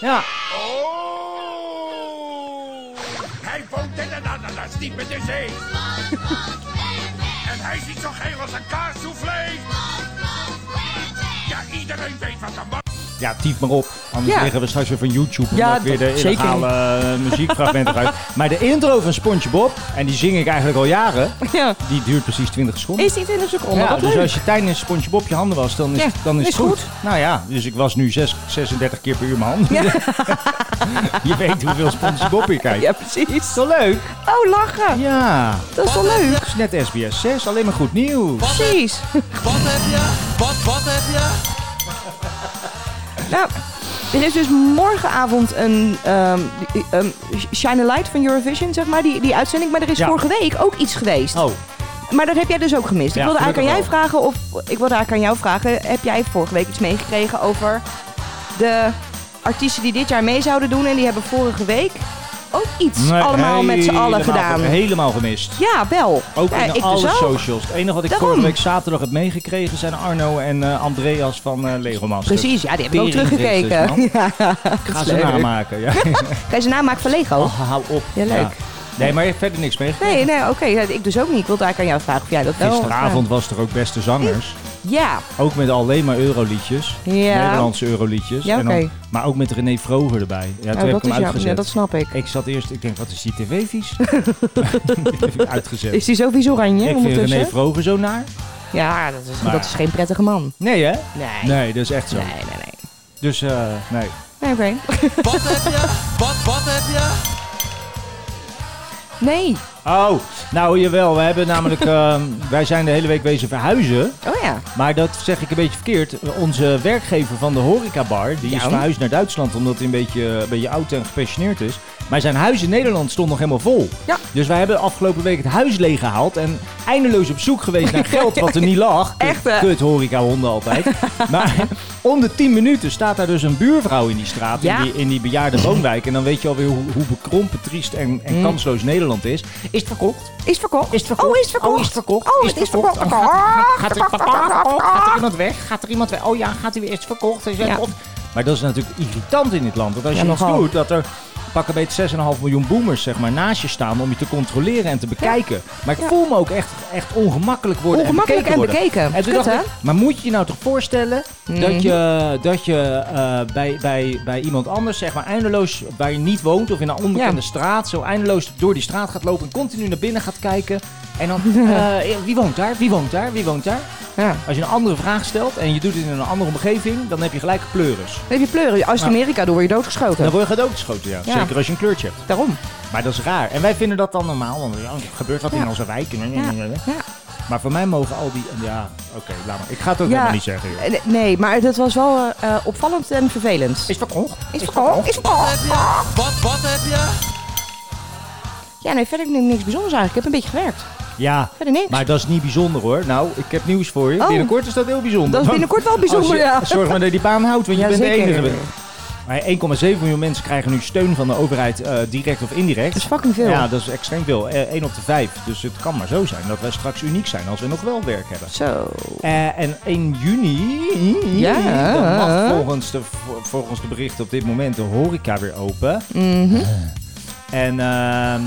A: Ja.
B: Oh. Hij woont in een ananas, niet met de zee. En hij ziet zo geel als een kaassoufflé. Ja, iedereen weet wat een man...
A: ja, tief maar op. Anders
C: Ja.
A: liggen we straks weer van YouTube en
C: Ja,
A: ook weer de
C: dat- zeker
A: illegale eh, muziekfragmenten uit. Maar de intro van SpongeBob, en die zing ik eigenlijk al jaren,
C: Ja.
A: die duurt precies 20 seconden.
C: Is die 20 seconden?
A: Ja,
C: Wat
A: dus
C: leuk.
A: als je tijdens SpongeBob je handen was, dan is,
C: Ja,
A: dan is,
C: is
A: het goed.
C: goed.
A: Nou ja, dus ik was nu zes- 36 keer per uur mijn handen. je weet hoeveel SpongeBob je kijkt.
C: Ja, precies.
A: Is wel leuk?
C: Oh, lachen.
A: Ja.
C: Dat is wel leuk.
A: Het is net SBS 6, alleen maar goed nieuws.
C: Precies.
F: Wat heb je? Wat, wat heb je?
C: Nou, er is dus morgenavond een ehm, die- ehm, Shine a Light van Eurovision, zeg maar, die, die uitzending. Maar er is
A: Ja.
C: vorige week ook iets geweest.
A: Oh,
C: Maar dat heb jij dus ook gemist.
A: Ja,
C: ik wilde eigenlijk aan jij
A: gelukkig
C: vragen, of ik wilde eigenlijk aan jou vragen, heb jij vorige week iets meegekregen over de artiesten die dit jaar mee zouden doen en die hebben vorige week ook iets
A: nee,
C: allemaal met z'n allen
A: helemaal
C: gedaan.
A: ge- Helemaal gemist.
C: Ja, wel.
A: Ook
C: ja,
A: in
C: ik
A: alle
C: dus ook.
A: socials. Het enige wat ik
C: Daarom.
A: vorige week zaterdag heb meegekregen zijn Arno en eh, Andreas van eh Lego Masters.
C: Precies, ja, die hebben we ook
A: Tering
C: teruggekeken.
A: Christus,
C: Ja,
A: Ga
C: dat is
A: ze
C: leuk.
A: namaken. Ja.
C: Ga je ze namaken van Lego?
A: Oh, hou op.
C: Ja, leuk.
A: Nee, maar je hebt verder niks meegekregen.
C: Nee, nee, oké. ja, ik dus ook niet. Ik wilde eigenlijk aan jou vragen of jij dat wel... eh,
A: Gisteravond was er ook beste zangers.
C: Ja.
A: Ook met alleen maar euroliedjes.
C: Ja.
A: Nederlandse euroliedjes.
C: Ja,
A: En dan-
C: oké.
A: Maar ook met René Vroger erbij. Ja, toen
C: Nou,
A: heb ik
C: dat
A: hem
C: is
A: uitgezet.
C: ja, dat snap ik.
A: Ik zat eerst, ik denk, wat is die tv-vies? Die heb ik uitgezet.
C: Is die sowieso oranje
A: ik vind
C: ondertussen?
A: René Vroger zo naar.
C: ja, dat is,
A: Maar-
C: dat is geen prettige man.
A: Nee, hè?
C: Nee.
A: Nee, dat is echt zo.
C: Nee, nee, nee.
A: Dus, eh, nee.
C: Nee, Oké.
F: Wat heb je? Wat, wat heb je?
C: Nee.
A: Oh, nou jawel. We hebben namelijk, ehm, wij zijn de hele week bezig verhuizen.
C: Oh ja.
A: Maar dat zeg ik een beetje verkeerd. Onze werkgever van de horecabar, die is
C: Ja.
A: verhuisd naar Duitsland omdat hij een beetje, een beetje oud en gepensioneerd is. Maar zijn huis in Nederland stond nog helemaal vol.
C: Ja.
A: Dus wij hebben afgelopen week het huis leeggehaald en eindeloos op zoek geweest naar geld wat er niet lag. Kut-
C: Echt, hè?
A: Kut horecahonden altijd. maar om de 10 minuten staat daar dus een buurvrouw in die straat,
C: Ja.
A: in, die, in die bejaarde woonwijk. En dan weet je alweer hoe, hoe bekrompen, triest en, en
C: Mm.
A: kansloos Nederland is. Is het verkocht?
C: Is verkocht.
A: Is het verkocht?
C: Oh, is het verkocht.
A: Oh, is het verkocht?
C: Oh,
A: Is
C: het is
A: verkocht?
C: verkocht.
A: Gaat er, gaat er iemand weg? Gaat er iemand weg? Oh ja, gaat hij weer eerst verkocht? Is het
C: Ja.
A: op? Maar dat is natuurlijk irritant in dit land. Want als
C: Ja,
A: je iets
C: nogal.
A: doet, dat er pak een beetje 6,5 miljoen boomers zeg maar, naast je staan om je te controleren en te bekijken. Maar ik
C: Ja.
A: voel me ook echt, echt ongemakkelijk worden
C: Ongemakkelijk
A: en
C: en
A: bekeken. worden.
C: bekeken.
A: En toen
C: Kut,
A: dacht
C: hè?
A: ik, maar moet je je nou toch voorstellen dat je, dat je eh, bij, bij, bij iemand anders, zeg maar, eindeloos waar je niet woont of in een onbekende straat, zo eindeloos door die straat gaat lopen en continu naar binnen gaat kijken. En dan, eh, wie woont daar? Wie woont daar? Wie woont daar?
C: Ja.
A: Als je een andere vraag stelt en je doet het in een andere omgeving, dan heb je gelijk pleuris.
C: Dan heb je pleuren. Oost-Amerika, dan word je doodgeschoten.
A: Dan word je gedoodgeschoten, ja.
C: Ja.
A: Zeker als je een kleurtje hebt.
C: Daarom.
A: Maar dat is raar. En wij vinden dat dan normaal, want ja, er gebeurt wat in
C: Ja.
A: onze wijk.
C: Ja. Ja.
A: Maar voor mij mogen al die... Ja, oké, laat maar. Ik ga het ook
C: Ja.
A: helemaal niet zeggen, joh.
C: Eh, Nee, maar dat was wel eh, eh, opvallend en vervelend.
A: Is verkocht?
C: Is verkocht. Is verkocht.
F: Wat, wat heb je?
C: Ja, nee, verder heb ik niks bijzonders eigenlijk. Ik heb een beetje gewerkt.
A: Ja,
C: Verder niks.
A: maar dat is niet bijzonder hoor. Nou, ik heb nieuws voor je.
C: Oh.
A: Binnenkort is dat heel bijzonder.
C: Dat is
A: Want
C: binnenkort wel bijzonder,
A: als je-
C: ja.
A: Zorg maar dat je die baan houdt, want je
C: Ja,
A: bent de
C: zeker.
A: enige. Maar 1,7 miljoen mensen krijgen nu steun van de overheid, eh, direct of indirect.
C: Dat is fucking veel.
A: Ja, dat is extreem veel. 1 op de 5. Dus het kan maar zo zijn dat wij straks uniek zijn als we nog wel werk hebben.
C: Zo.
A: Eh, en 1 juni
C: Ja.
A: dan mag volgens de, volgens de berichten op dit moment de horeca weer open.
C: Mhm.
A: Eh. En ehm,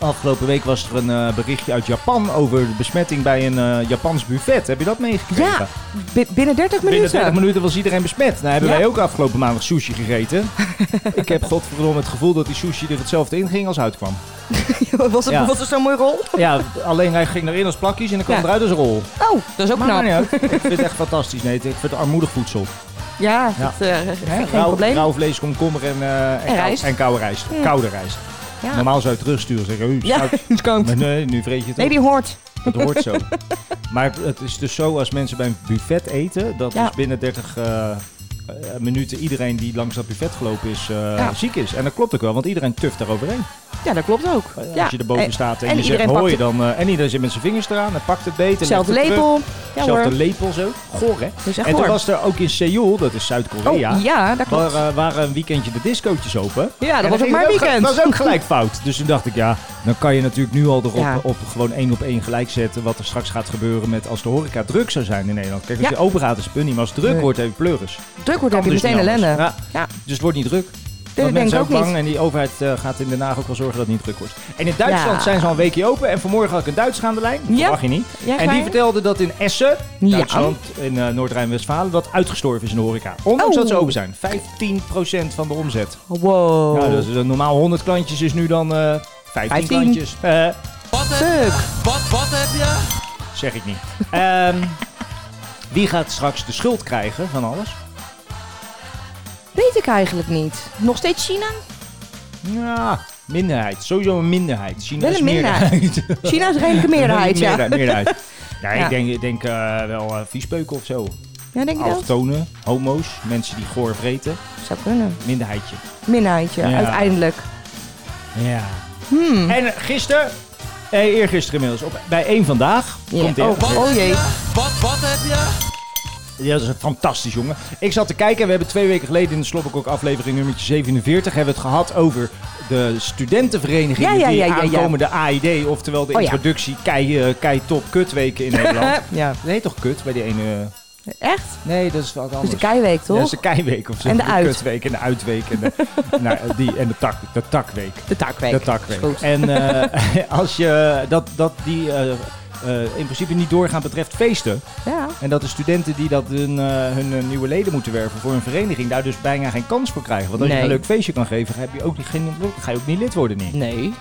A: afgelopen week was er een eh, berichtje uit Japan over de besmetting bij een eh, Japans buffet. Heb je dat meegekregen?
C: Ja, bi- binnen 30
A: Binnen
C: minuten.
A: 30 minuten was iedereen besmet. Nou hebben
C: Ja.
A: wij ook afgelopen maandag sushi gegeten. Ik heb godverdomme het gevoel dat die sushi er hetzelfde in ging als uitkwam.
C: was het
A: Ja.
C: was het zo'n mooie rol?
A: Ja, alleen hij ging erin als plakjes en dan kwam
C: Ja.
A: eruit als rol.
C: Oh, dat is ook
A: Maar
C: knap.
A: maakt niet uit. Ik vind het echt fantastisch. Nee, ik vind het armoedig voedsel.
C: Ja,
A: Ja.
C: dat, eh,
A: Hè?
C: geen
A: Rauw-
C: probleem.
A: Rauw vlees, komkommer en, eh, en, kou-
C: rijst.
A: en koude rijst. Koude rijst.
C: Ja.
A: Normaal zou je het terugsturen zeggen, "Oeh,
C: Ja,
A: stout."
C: het kan.
A: Maar nee, nu vreet je het
C: Nee,
A: op.
C: die hoort.
A: Dat hoort zo. Maar het is dus zo als mensen bij een buffet eten, dat
C: Ja.
A: dus binnen 30 eh, eh, minuten iedereen die langs dat buffet gelopen is, eh,
C: Ja.
A: ziek is. En dat klopt ook wel, want iedereen tuft daaroverheen.
C: Ja, dat klopt ook.
A: Eh,
C: ja.
A: Als je erboven
C: En-
A: staat
C: en
A: en, je zegt
C: iedereen pakt
A: hooi,
C: het-
A: dan... eh, en iedereen zit met zijn vingers eraan en pakt het beter.
C: Zelfde
A: legt het terug.
C: lepel. Ja
A: Zelfde
C: hoor.
A: lepel zo. Goor, hè?
C: is echt
A: en toen
C: goor.
A: was er ook in Seoul, dat is
C: Oh,
A: Zuid-Korea...
C: ja. dat klopt.
A: Waar, eh, waren een weekendje de discootjes open.
C: Ja, dat
A: En
C: was ook
A: ging
C: maar
A: het
C: weekend.
A: Dat was ook gelijk fout. Dus toen dacht ik, ja, dan kan je natuurlijk nu al erop
C: Ja.
A: op gewoon één op één gelijk zetten... wat er straks gaat gebeuren met als de horeca druk zou zijn in Nederland. Kijk, als
C: Ja.
A: je open gaat is het punny, maar als het druk
C: Nee.
A: wordt heb je pleuris.
C: Druk wordt heb
A: Kan
C: je
A: dus
C: meteen
A: niet anders.
C: ellende.
A: Ja.
C: Ja.
A: Dus het wordt niet druk. Want
C: denk ik
A: mensen
C: ook
A: zijn bang
C: niet.
A: en die overheid eh, gaat in Den Haag ook wel zorgen dat het niet druk wordt. En in Duitsland
C: Ja.
A: zijn ze al een weekje open. En vanmorgen had ik een Duits aan de lijn. Dat
C: Ja.
A: mag je niet.
C: Ja,
A: en
C: ga
A: die
C: je?
A: vertelde dat in Essen,
C: Ja.
A: Duitsland, in eh, Noord-Rijn-Westfalen, dat uitgestorven is in de horeca. Ondanks
C: Oh.
A: dat ze open zijn. 15% van de omzet.
C: Wow.
A: Nou, dus, eh, normaal 100 klantjes is nu dan eh 15,
C: 15.
A: klantjes. Eh,
F: Wat heb,
C: Fuck.
F: wat, wat heb je?
A: zeg ik niet. Ehm, wie gaat straks de schuld krijgen van alles?
C: Weet ik eigenlijk niet. Nog steeds China?
A: Ja, minderheid. Sowieso een minderheid. China
C: Wel
A: is
C: een minderheid.
A: meerderheid.
C: China is redelijk een meerderheid, ja.
A: Meerderheid, meerderheid. Ja, ik
C: Ja.
A: denk, ik denk eh, wel eh viespeuken of zo.
C: Ja, denk je dat?
A: Allochtonen, homo's, mensen die goor vreten.
C: Zou kunnen.
A: Minderheidje.
C: Minnaatje,
A: Ja.
C: uiteindelijk.
A: Ja. Hmm. En gisteren, eh, eergisteren inmiddels, op, bij één vandaag.
C: Ja.
A: Komt die
C: Oh,
A: echt.
C: oh jee.
F: Wat, wat heb je?
A: Ja, dat is een fantastisch jongen. Ik zat te kijken, we hebben twee weken geleden in de Slobberkok aflevering nummertje 47 hebben we het gehad over de studentenverenigingen
C: Ja, ja,
A: die
C: ja, ja, ja.
A: aankomende AID, oftewel de
C: Oh, ja.
A: introductie kei, eh, kei top kutweken in Nederland. ja, dat heet toch kut bij die ene?
C: Echt?
A: Nee, dat is wat anders.
C: Dus de keiweek,
A: Ja,
C: toch?
A: dat is de keiweek of zo.
C: En de uit.
A: kutweek en de uitweek en de, nou, die, en de, tak, de takweek.
C: de takweek.
A: De takweek.
C: Is goed.
A: En eh, als je dat, dat die eh, eh, in principe niet doorgaan betreft feesten.
C: Ja.
A: En dat de studenten die dat hun, eh, hun eh, nieuwe leden moeten werven voor hun vereniging daar dus bijna geen kans voor krijgen. Want als je
C: Nee.
A: een leuk feestje kan geven, heb je ook niet, geen, ga je ook niet lid worden. Niet.
C: Nee.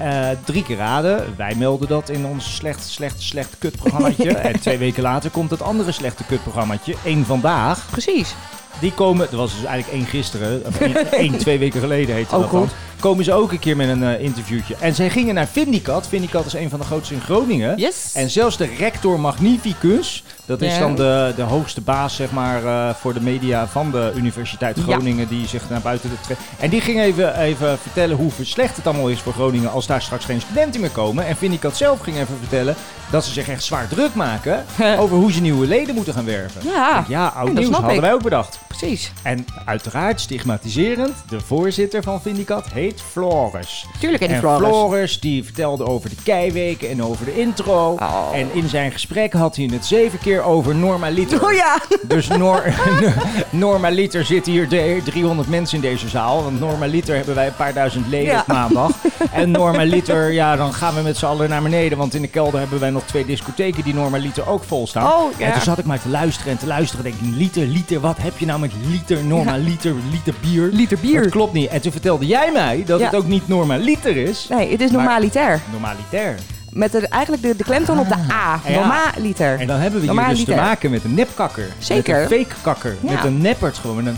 A: Eh, drie keer raden, wij melden dat in ons slecht, slecht, slecht kutprogrammaatje. En twee weken later komt het andere slechte kutprogrammaatje, één vandaag.
C: Precies.
A: Die komen, er was dus eigenlijk één gisteren, of één, één, twee weken geleden heette
C: Ook
A: dat
C: Oh, goed.
A: dan. Komen ze ook een keer met een eh, interviewtje. En zij gingen naar Vindicat. Vindicat is een van de grootste in Groningen.
C: Yes.
A: En zelfs de rector magnificus, dat is
C: Ja.
A: dan de, de hoogste baas zeg maar, eh, voor de media van de Universiteit
C: Ja.
A: Groningen, die zich naar buiten trekt. En die ging even, even vertellen hoe slecht het allemaal is voor Groningen als daar straks geen studenten meer komen. En Vindicat zelf ging even vertellen dat ze zich echt zwaar druk maken over hoe ze nieuwe leden moeten gaan werven.
C: Ja,
A: Ja, oud
C: dat
A: nieuws
C: snap
A: hadden
C: ik.
A: wij ook bedacht.
C: precies.
A: En uiteraard stigmatiserend, de voorzitter van Vindicat heet Floris.
C: Tuurlijk, en die
A: en
C: Floris.
A: die vertelde over de keiweken en over de intro.
C: Oh.
A: En in zijn gesprek had hij het zeven keer over normaliter.
C: Oh ja.
A: Dus Nor normaliter zitten hier de- 300 mensen in deze zaal. Want normaliter hebben wij een paar duizend leden
C: Ja.
A: op maandag. En normaliter, ja, dan gaan we met z'n allen naar beneden. Want in de kelder hebben wij nog twee discotheken die normaliter ook vol staan.
C: Oh, ja.
A: En toen zat ik maar te luisteren en te luisteren. En denk ik, liter, liter, wat heb je nou met liter, normaliter, liter bier?
C: Liter bier.
A: Dat klopt niet. En toen vertelde jij mij dat
C: Ja.
A: het ook niet normaliter is.
C: Nee, het is
A: Maar-
C: normaliter.
A: Normalitair.
C: Met de, eigenlijk de, de klemtoon op de A.
A: Ah, ja.
C: Normaliter.
A: En dan hebben we hier dus te
C: Normaliter.
A: maken met een nepkakker.
C: Zeker.
A: Met een fake kakker.
C: Ja.
A: Met een neppert gewoon. Met een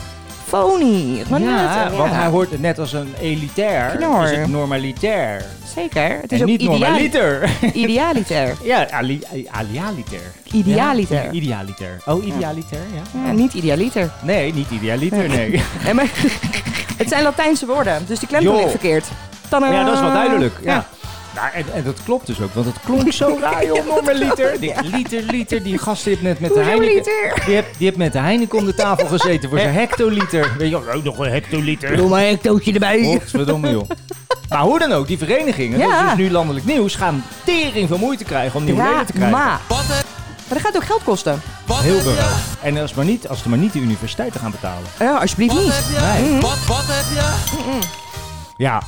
C: Phony.
A: Ja,
C: Normaliter, ja.
A: want hij hoort het net als een elitair.
C: Knor.
A: Is het normalitair.
C: Zeker. Het is
A: en
C: ook
A: niet
C: ideali-
A: normaliter.
C: idealiter.
A: ja, ali, alialiter.
C: Idealiter.
A: Ja, idealiter. Oh, idealiter, ja.
C: Ja, niet idealiter.
A: Nee, niet idealiter, nee.
C: Nee, maar het zijn Latijnse woorden, dus die klemtoon
A: Joh.
C: ligt verkeerd. Tadaa.
A: ja, dat is wel duidelijk. Ah. Ja. Nou, en, en dat klopt dus ook, want het klonk zo raar, joh, normaliter. Die liter, liter, die gast heeft net met de
C: Hoezo
A: Heineken...
C: liter?
A: Die hebt, die hebt met de Heineken om de tafel gezeten voor zijn hectoliter. Weet je wel, ook nog een hectoliter.
C: Doe maar een tootje erbij.
A: Godverdomme joh. Maar hoe dan ook, die verenigingen, dat
C: Ja.
A: is dus nu landelijk nieuws, gaan tering van moeite krijgen om nieuwe leden te krijgen.
C: Drama.
F: Wat heb,
C: Maar dat gaat ook geld kosten.
F: wat
A: Heel
F: heb
A: veel.
F: je?
A: En als, maar niet, als er maar niet de universiteiten gaan betalen.
C: Ja, alsjeblieft
F: Wat
C: niet.
F: heb je? Wat, wat heb je?
A: Ja.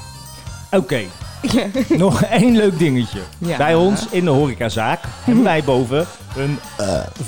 A: Oké. Nog één leuk dingetje.
C: Ja.
A: Bij ons in de horecazaak hebben wij boven een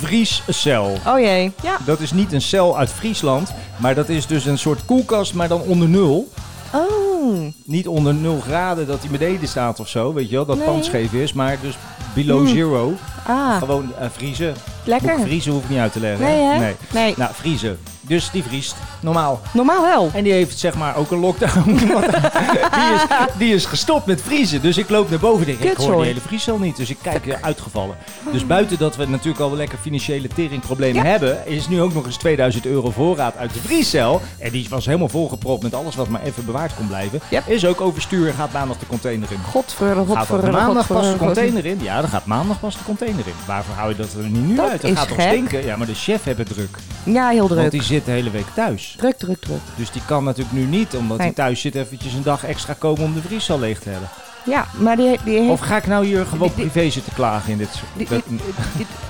A: vriescel.
C: Oh jee. Ja.
A: Dat is niet een cel uit Friesland, maar dat is dus een soort koelkast, maar dan onder nul.
C: Oh.
A: Niet onder nul graden dat hij beneden staat of zo, weet je wel, dat
C: Nee. Hmm.
A: pand scheef is, maar dus below zero.
C: Ah,
A: Gewoon eh, vriezen.
C: Lekker.
A: Moet ik vriezen hoef ik niet uit te leggen.
C: Nee, hè? Nee.
A: Nou, vriezen. Dus die vriest. Normaal.
C: normaal wel.
A: En die heeft zeg maar ook een lockdown. Want die, is, die is gestopt met vriezen. Dus ik loop naar boven en denk, ik hoor
C: Kutzooi.
A: die hele vriescel niet. Dus ik kijk eh, uitgevallen. Dus buiten dat we natuurlijk al lekker financiële teringproblemen hebben... is nu ook nog eens 2000 euro voorraad uit de vriescel. En die was helemaal volgepropt met alles wat maar even bewaard kon blijven.
C: Yep.
A: Is ook overstuur en gaat maandag de container in.
C: Godverdomme,
A: Gaat er
C: godverdomme,
A: maandag pas de
C: godverdomme.
A: container in? Ja, dan gaat maandag pas de container in. Waarvoor hou je dat er niet nu
C: Dat
A: uit? Dat
C: is
A: gaat toch
C: gek.
A: stinken? Ja, maar de chef heeft het druk.
C: Ja, heel
A: Want
C: druk.
A: die zit de hele week thuis.
C: Druk, druk, druk.
A: Dus die kan natuurlijk nu niet, omdat hij
C: Nee.
A: thuis zit, eventjes een dag extra komen om de vriescel leeg te hebben.
C: Ja, maar die, die,
A: Of
C: heeft,
A: ga ik nou hier gewoon
C: Die- die-
A: privé zitten klagen in dit soort...
C: die,
A: dat-
C: die-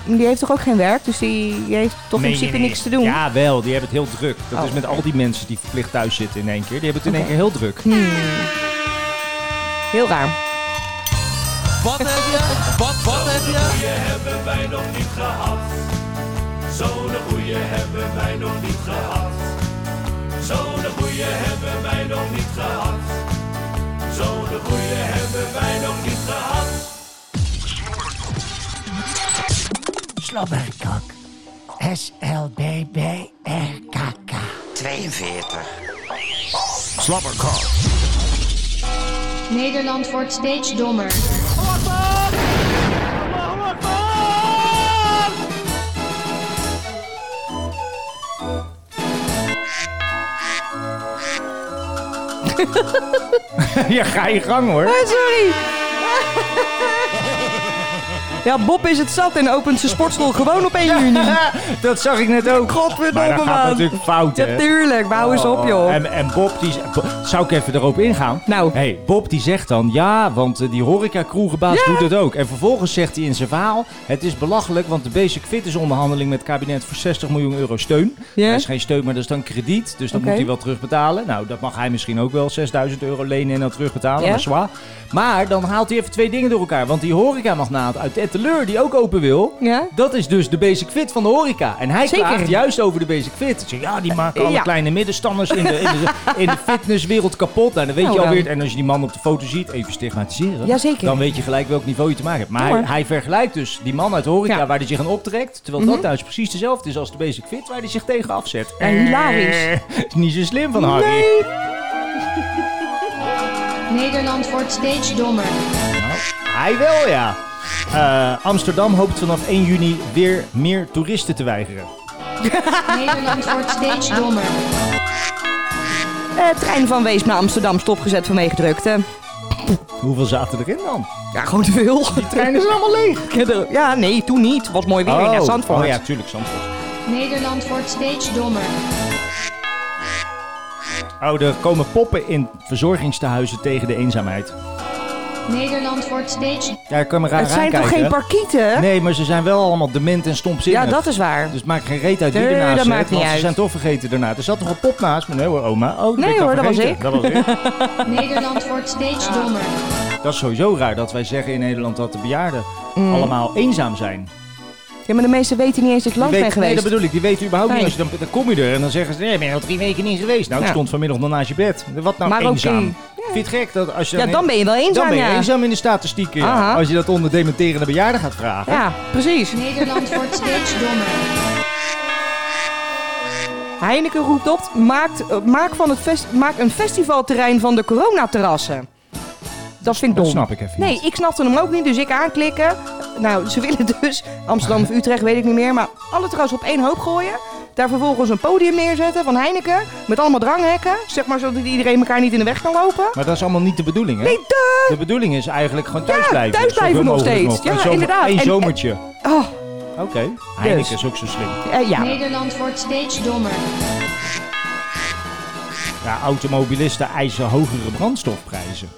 C: die- die heeft toch ook geen werk? Dus die, die heeft toch
A: Nee,
C: in principe
A: nee, nee.
C: niks te doen?
A: Ja, wel. Die hebben het heel druk. Dat
C: Oh.
A: is met al die mensen die verplicht thuis zitten in één keer. Die hebben het in
C: Oké.
A: één keer heel druk.
C: Heel raar.
F: Wat heb je? Wat, wat heb je?
H: Slobberkok. S-L-B-B-R-K-K.
I: 42.
E: Nederland wordt steeds dommer.
A: ja, ga je gang hoor.
C: Eh, Sorry! Ja, Bob is het zat en opent zijn sportschool gewoon op 1 juni.
A: dat zag ik net ook.
C: Godverdomme,
A: maar dat gaat
C: man.
A: natuurlijk fout, hè? Oh.
C: Ja, tuurlijk. Maar hou eens op, joh.
A: En, en Bob, die, z- Bo- zou ik even erop ingaan?
C: Nou.
A: Hey, Bob die zegt dan, ja, want eh, die horeca-kroegenbaas doet het ook. En vervolgens zegt hij in zijn verhaal, het is belachelijk, want de Basic Fit is onderhandeling met het kabinet voor 60 miljoen euro steun.
C: Ja.
A: Dat is geen steun, maar dat is dan krediet, dus dat
C: Oké.
A: moet hij wel terugbetalen. Nou, dat mag hij misschien ook wel, 6000 euro lenen en dan terugbetalen,
C: Ja.
A: maar zwaar. Maar dan haalt hij even twee dingen door elkaar, want die horeca-magnaat uit Etteleur, die ook open wil...
C: Ja?
A: Dat is dus de basic fit van de horeca. En hij
C: Zeker.
A: klaagt juist over de basic fit. Ik zeg, ja, die maken alle
C: Ja.
A: kleine middenstanders in de, in, de, in de fitnesswereld kapot. Nou, dan weet
C: Nou
A: je alweer.
C: dan.
A: En als je die man op de foto ziet, even stigmatiseren.
C: Jazeker.
A: Dan weet je gelijk welk niveau je te maken hebt. Maar
C: Ja,
A: hij,
C: hoor.
A: hij vergelijkt dus die man uit de horeca
C: Ja. Mhm.
A: waar hij zich aan optrekt. Terwijl dat thuis precies dezelfde is als de basic fit waar hij zich tegen afzet.
C: Ja, hilarisch.
A: Eh, is niet zo slim van Harry.
E: Nederland wordt steeds dommer.
A: Hij wel, ja. Eh, Amsterdam hoopt vanaf 1 juni weer meer toeristen te weigeren.
E: Nederland wordt steeds dommer.
C: Eh, trein van Weesp naar Amsterdam stopgezet vanwege drukte.
A: Hoeveel zaten erin dan?
C: Ja, gewoon te veel. Die
A: treinen zijn allemaal leeg.
C: Ja, nee, toen niet. Was mooi weer
A: Oh,
C: naar Zandvoort.
A: Oh ja, tuurlijk, Zandvoort.
E: Nederland wordt steeds dommer.
A: Oh, er komen poppen in verzorgingstehuizen tegen de eenzaamheid.
E: Nederland wordt steeds
A: Ja, ik kan me raar
C: Het zijn toch
A: aankijken.
C: geen parkieten?
A: Nee, maar ze zijn wel allemaal dement en stomzinnig.
C: ja, dat is waar.
A: Dus het maakt geen reet uit wie
C: Nee,
A: ernaast
C: dat
A: zit,
C: maakt niet
A: want ze
C: uit.
A: zijn toch vergeten daarna. Er zat toch een pop naast me? Nee hoor, oma. Oh, dat
C: Nee
A: ben ik dan
C: hoor, dat was
A: vergeten.
C: ik.
A: Dat, was ik.
E: Nederland wordt steeds dommer.
A: dat is sowieso raar dat wij zeggen in Nederland dat de bejaarden
C: Mm.
A: allemaal eenzaam zijn.
C: Ja, maar de meesten weten niet eens dat ik
A: Die
C: langs ben
A: weten- Nee,
C: geweest.
A: dat bedoel ik. Die weten überhaupt
C: Nee.
A: niet. Als je dan, dan kom je er en dan zeggen ze, nee, ik ben al drie weken niet geweest. Nou, ik
C: Ja.
A: stond vanmiddag nog naast je bed. Wat nou
C: Maar oké.
A: eenzaam? Vind je het gek dat als je
C: ja, dan ben je wel eenzaam,
A: Dan ben je
C: ja.
A: eenzaam in de statistieken. ja.
C: eh, Aha.
A: Als je dat onder dementerende bejaarden gaat vragen.
C: Ja, precies.
E: Nederland wordt steeds dommer.
C: Heineken roept op, maakt, eh, maak, van het fest, maak een festivalterrein van de coronaterrassen. Dat vind ik
A: Dat
C: dom.
A: snap ik even
C: Nee,
A: niet.
C: ik snapte hem ook niet, dus ik aanklikken. Nou, ze willen dus Amsterdam of Utrecht, weet ik niet meer, maar alle terrassen op één hoop gooien. Daar vervolgens een podium neerzetten van Heineken, met allemaal dranghekken. Zeg maar, zodat iedereen elkaar niet in de weg kan lopen.
A: Maar dat is allemaal niet de bedoeling, hè?
C: Nee, duh!
A: De bedoeling is eigenlijk gewoon thuis
C: Ja,
A: blijven.
C: thuis
A: zoveel
C: blijven nog
A: mogelijk
C: steeds. Ja,
A: Een zomer-
C: inderdaad.
A: Een
C: En-
A: zomertje.
C: Oh,
A: Oké. Heineken is ook zo slim.
C: eh, ja.
E: Nederland wordt steeds dommer.
A: Ja, automobilisten eisen hogere brandstofprijzen.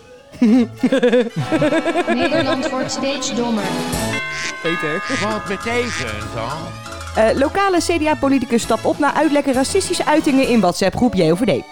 E: Nederland wordt steeds dommer.
B: Wat betekent dan?
C: Eh, lokale CDA-politicus stapt op na uitlekken racistische uitingen in WhatsApp-groep JOVD.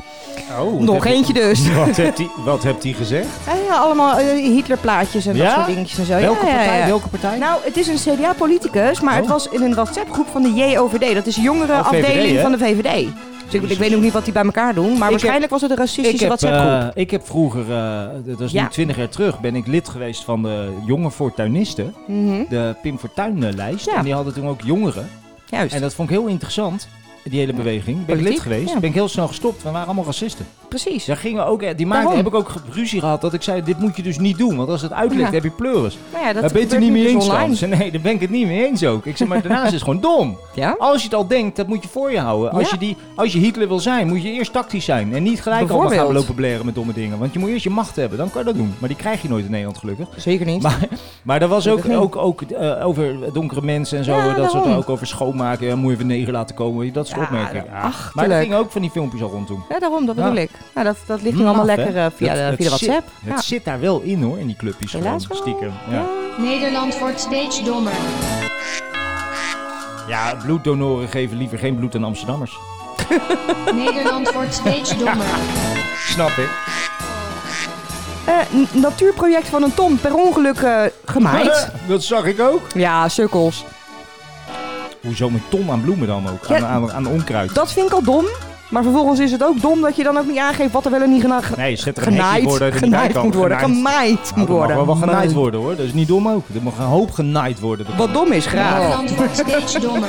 A: Oh,
C: Nog eentje dus.
A: Wat hebt hij wat hebt hij gezegd?
C: Ja, ja, allemaal eh, Hitlerplaatjes en
A: Ja?
C: dat soort dingetjes en zo.
A: Welke
C: Oh, Ja, ja,
A: partij?
C: ja.
A: Welke partij?
C: Nou, het is een CDA-politicus, maar het
A: Oh.
C: was in een WhatsApp-groep van de JOVD. Dat is de
A: Oh, VVD,
C: jongerenafdeling
A: hè?
C: van de VVD. Dus ik, ik weet ook niet wat die bij elkaar doen, maar waarschijnlijk was het een racistische WhatsApp-groep.
A: eh, ik heb vroeger, eh, dat was
C: Ja.
A: nu twintig jaar terug, ben ik lid geweest van de Jonge Fortuinisten.
C: Mhm,
A: De Pim Fortuyn-lijst.
C: Ja.
A: En die hadden toen ook jongeren.
C: Juist,
A: En dat vond ik heel interessant, die hele beweging. Ben ik
C: Politiek,
A: lid geweest,
C: ja.
A: ben ik heel snel gestopt. We waren allemaal racisten.
C: precies.
A: Daar gingen we ook, eh, die maakten,
C: Daarom.
A: heb ik ook ge- ruzie gehad dat ik zei, dit moet je dus niet doen. Want als het uitlekt,
C: Ja.
A: heb je pleuris.
C: Nou ja, dat
A: Daar ben je het er
C: gebeurt
A: niet
C: nu
A: mee
C: dus
A: eens,
C: online.
A: Frans. Nee, daar ben ik het niet mee eens ook. Ik zeg, maar daarnaast is het gewoon dom.
C: Ja?
A: Als je het al denkt, dat moet je voor je houden. Als,
C: Ja.
A: je die, als je Hitler wil zijn, moet je eerst tactisch zijn. En niet gelijk allemaal gaan
C: Bijvoorbeeld.
A: lopen bleren met domme dingen. Want je moet eerst je macht hebben, dan kan je dat doen. Maar die krijg je nooit in Nederland, gelukkig.
C: Zeker niet.
A: Maar, maar er was
C: Dat
A: ook,
C: ging.
A: ook, ook eh, over donkere mensen en zo.
C: Ja,
A: eh, dat soort
C: daarom.
A: ook over schoonmaken. Ja, moet je even negen laten komen. Dat is slechte opmerking. Ja. Maar er
C: achterlijk.
A: gingen ook van die filmpjes al rond toen.
C: Ja, daarom, dat
A: Ja.
C: bedoel ik. Nou, dat, dat ligt nu allemaal
A: Maf, hè?
C: lekker eh, via,
A: Het-
C: de,
A: het
C: via de
A: zit-
C: WhatsApp.
A: het zit daar wel in hoor, in die clubjes
C: Helaas
A: gewoon,
C: wel.
A: stiekem.
C: Ja.
A: Ja.
E: Nederland wordt steeds dommer.
A: ja, bloeddonoren geven liever geen bloed aan Amsterdammers.
E: Nederland wordt steeds dommer.
A: Snap ik.
C: Eh, n- natuurproject van een ton per ongeluk eh, gemaaid.
A: Dat zag ik ook.
C: ja, sukkels.
A: Hoezo met ton aan bloemen dan ook? Aan,
C: Ja.
A: aan, aan onkruid.
C: Dat vind ik al dom. Maar vervolgens is het ook dom dat je dan ook niet aangeeft wat er wel en niet gena ge-
A: Nee, zet er een
C: genaaid,
A: hekje voor dat je er niet bij
C: genaaid
A: kan.
C: moet worden.
A: Genaaid.
C: Gemaaid moet
A: Nou, er mag
C: worden.
A: wel wat genaaid worden hoor. Dat is niet dom ook. Er mag een hoop genaaid worden.
C: Wat dom is, graag.
E: Nederland wordt steeds dommer.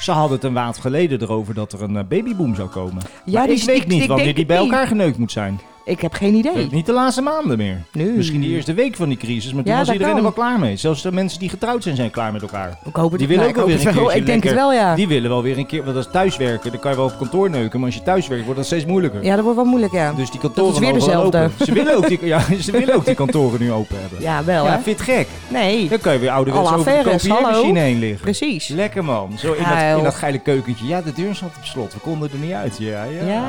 A: Ze hadden het een maand geleden erover dat er een eh, babyboom zou komen.
C: Ja,
A: maar
C: die
A: ik
C: is-
A: weet
C: ik-
A: niet
C: ik
A: wanneer
C: denk
A: die bij
C: het niet.
A: elkaar geneukt moet zijn.
C: Ik heb geen idee.
A: Niet de laatste maanden meer.
C: Nee.
A: Misschien de eerste week van die crisis, maar toen
C: Ja,
A: was
C: dat
A: iedereen er
C: kan.
A: wel klaar mee. Zelfs de mensen die getrouwd zijn, zijn klaar met elkaar.
C: Ik hoop het nou,
A: Die willen
C: ik
A: ook wel
C: hoop
A: weer een
C: het
A: keer.
C: wel. Ik denk het wel, ja.
A: Die willen wel weer een keer, want als thuiswerken, dan kan je wel op kantoor neuken, maar als je thuiswerkt wordt dat steeds moeilijker.
C: Ja, dat wordt wel moeilijk, ja.
A: Dus die kantoren
C: Dat is weer
A: mogen wel
C: dezelfde.
A: open. Ze willen, ook die, ja, ze willen ook die kantoren nu open hebben.
C: Ja, wel,
A: Ja,
C: hè?
A: vind het gek.
C: Nee,
A: Dan kan je weer ouderwets
C: Alle
A: over de
C: affaires, hallo.
A: kopieermachine heen liggen.
C: precies.
A: Lekker man. Zo in dat,
C: Geil.
A: in dat geile keukentje. Ja, de deur zat op slot. We konden er niet uit. Ja, ja.
C: Ja.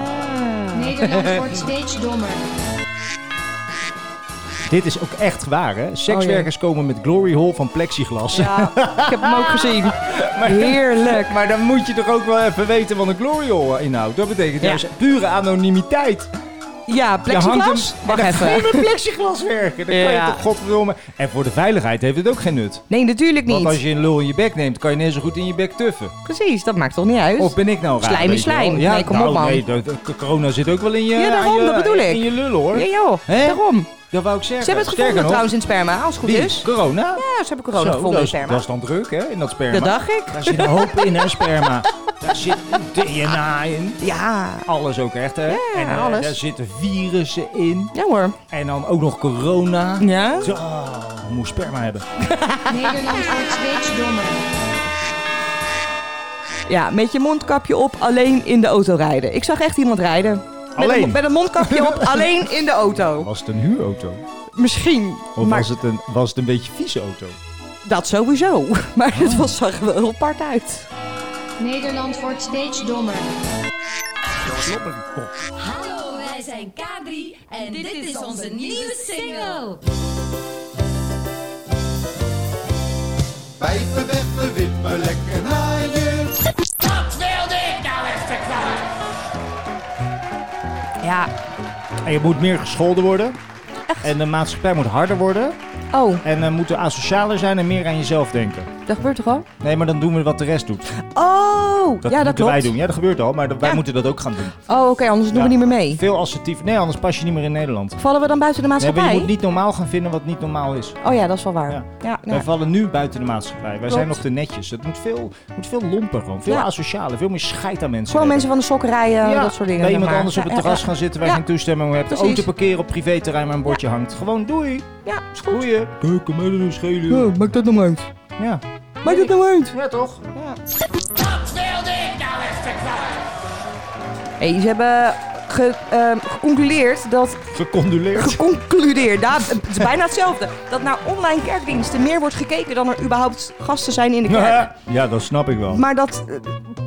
E: Nederland wordt steeds dommer.
A: Dit is ook echt waar, hè? Sekswerkers komen met glory hole van plexiglas.
C: Oh, ja, ik heb hem ook gezien.
A: Maar-
C: Heerlijk.
A: Maar dan moet je toch ook wel even weten wat een glory hole inhoudt. Dat betekent
C: Ja.
A: juist pure anonimiteit.
C: Ja,
A: Je
C: plexiglas?
A: hangt hem,
C: Wacht
A: dan ga je
C: even.
A: met plexiglas werken. Dan kan
C: Ja.
A: je toch godverdomme... En voor de veiligheid heeft het ook geen nut.
C: Nee, natuurlijk
A: Want als
C: niet.
A: je een lul in je bek neemt, kan je net zo goed in je bek tuffen.
C: Precies, dat maakt toch niet uit?
A: Of ben ik nou raar?
C: Dus Slijm is
A: weet je wel?
C: slijm. Nee, kom op,
A: nou,
C: man.
A: Nee, dat- dat- corona zit ook wel in je...
C: Ja, daarom,
A: aan je-
C: dat bedoel ik.
A: In je lul, hoor.
C: Ja joh,
A: Hè?
C: daarom.
A: Dat wou ik zeggen.
C: Ze hebben het gevonden
A: Sterker nog,
C: trouwens in het sperma, als het goed
A: wie?
C: is.
A: Corona?
C: Dus? Ja, ze hebben corona
A: Zo,
C: gevonden
A: dat
C: in
A: is,
C: sperma.
A: dat is dan druk, hè, in dat sperma.
C: Dat dacht ik.
A: Daar zit een hoop in, hè, sperma. Daar zit DNA in.
C: Ja.
A: Alles ook echt, hè? en eh,
C: alles.
A: daar zitten virussen in.
C: Ja hoor.
A: En dan ook nog corona.
C: Ja?
A: Zo, oh, moet sperma hebben.
E: Nederland wordt steeds dommer.
C: Ja, met je mondkapje op, alleen in de auto rijden. Ik zag echt iemand rijden. Met
A: Alleen?
C: Een, met een mondkapje op, alleen in de auto.
A: Was het een huurauto?
C: Misschien.
A: Of
C: maar
A: was, het een, was het een beetje vieze auto?
C: dat sowieso. Maar
A: Oh.
C: het was, zag er wel heel apart uit.
E: Nederland wordt steeds dommer.
D: Hallo, wij zijn K3 en dit is onze nieuwe single.
F: Pijpen weg, de wippen lekker naaien.
B: Dat wilde ik nou echt verklaren.
C: Ja.
A: En je moet meer gescholden worden. En de maatschappij moet harder worden.
C: Oh,
A: En eh, moeten asocialer zijn en meer aan jezelf denken.
C: dat gebeurt toch al?
A: Nee, maar dan doen we wat de rest doet.
C: Oh,
A: Dat
C: ja, dat
A: moeten
C: klopt.
A: wij doen. Ja, dat gebeurt al, maar dat- wij
C: Ja.
A: moeten dat ook gaan doen.
C: Oh, oké, anders doen we
A: Ja.
C: niet meer mee.
A: Veel assertief. Nee, anders pas je niet meer in Nederland.
C: Vallen we dan buiten de
A: Nee,
C: maatschappij?
A: maar je moet niet normaal gaan vinden wat niet normaal is.
C: Oh ja, dat is wel waar.
A: Ja.
C: Ja,
A: Wij
C: ja.
A: vallen nu buiten de maatschappij. Wij zijn nog
C: Klopt.
A: te netjes. Het moet veel, moet veel lomper gewoon. Veel
C: Ja.
A: asocialer. Veel meer scheid aan mensen.
C: Gewoon
A: hebben.
C: mensen van de sokkerijen,
A: Ja,
C: dat soort dingen.
A: Bij
C: zeg
A: iemand
C: maar.
A: anders op
C: Ja,
A: het
C: ja,
A: terras
C: ja.
A: gaan zitten waar
C: Ja.
A: je geen toestemming hebt. De
C: Precies.
A: auto parkeren op privéterrein waar een bordje hangt. Gewoon doei.
C: Ja, is goed.
A: Doei. Kijk, mij dan schelen.
C: Ja, maakt dat nou uit?
A: Ja.
C: Maakt dat nou uit?
A: Ja, toch?
B: Dat wilde ik nou echt verklaren.
C: Hey, ze hebben ge, ehm, geconcludeerd dat...
A: Gecondoleerd.
C: Geconcludeerd, daar, het is bijna hetzelfde. Dat naar online kerkdiensten meer wordt gekeken dan er überhaupt gasten zijn in de kerk.
A: Ja, dat snap ik wel.
C: Maar dat, eh,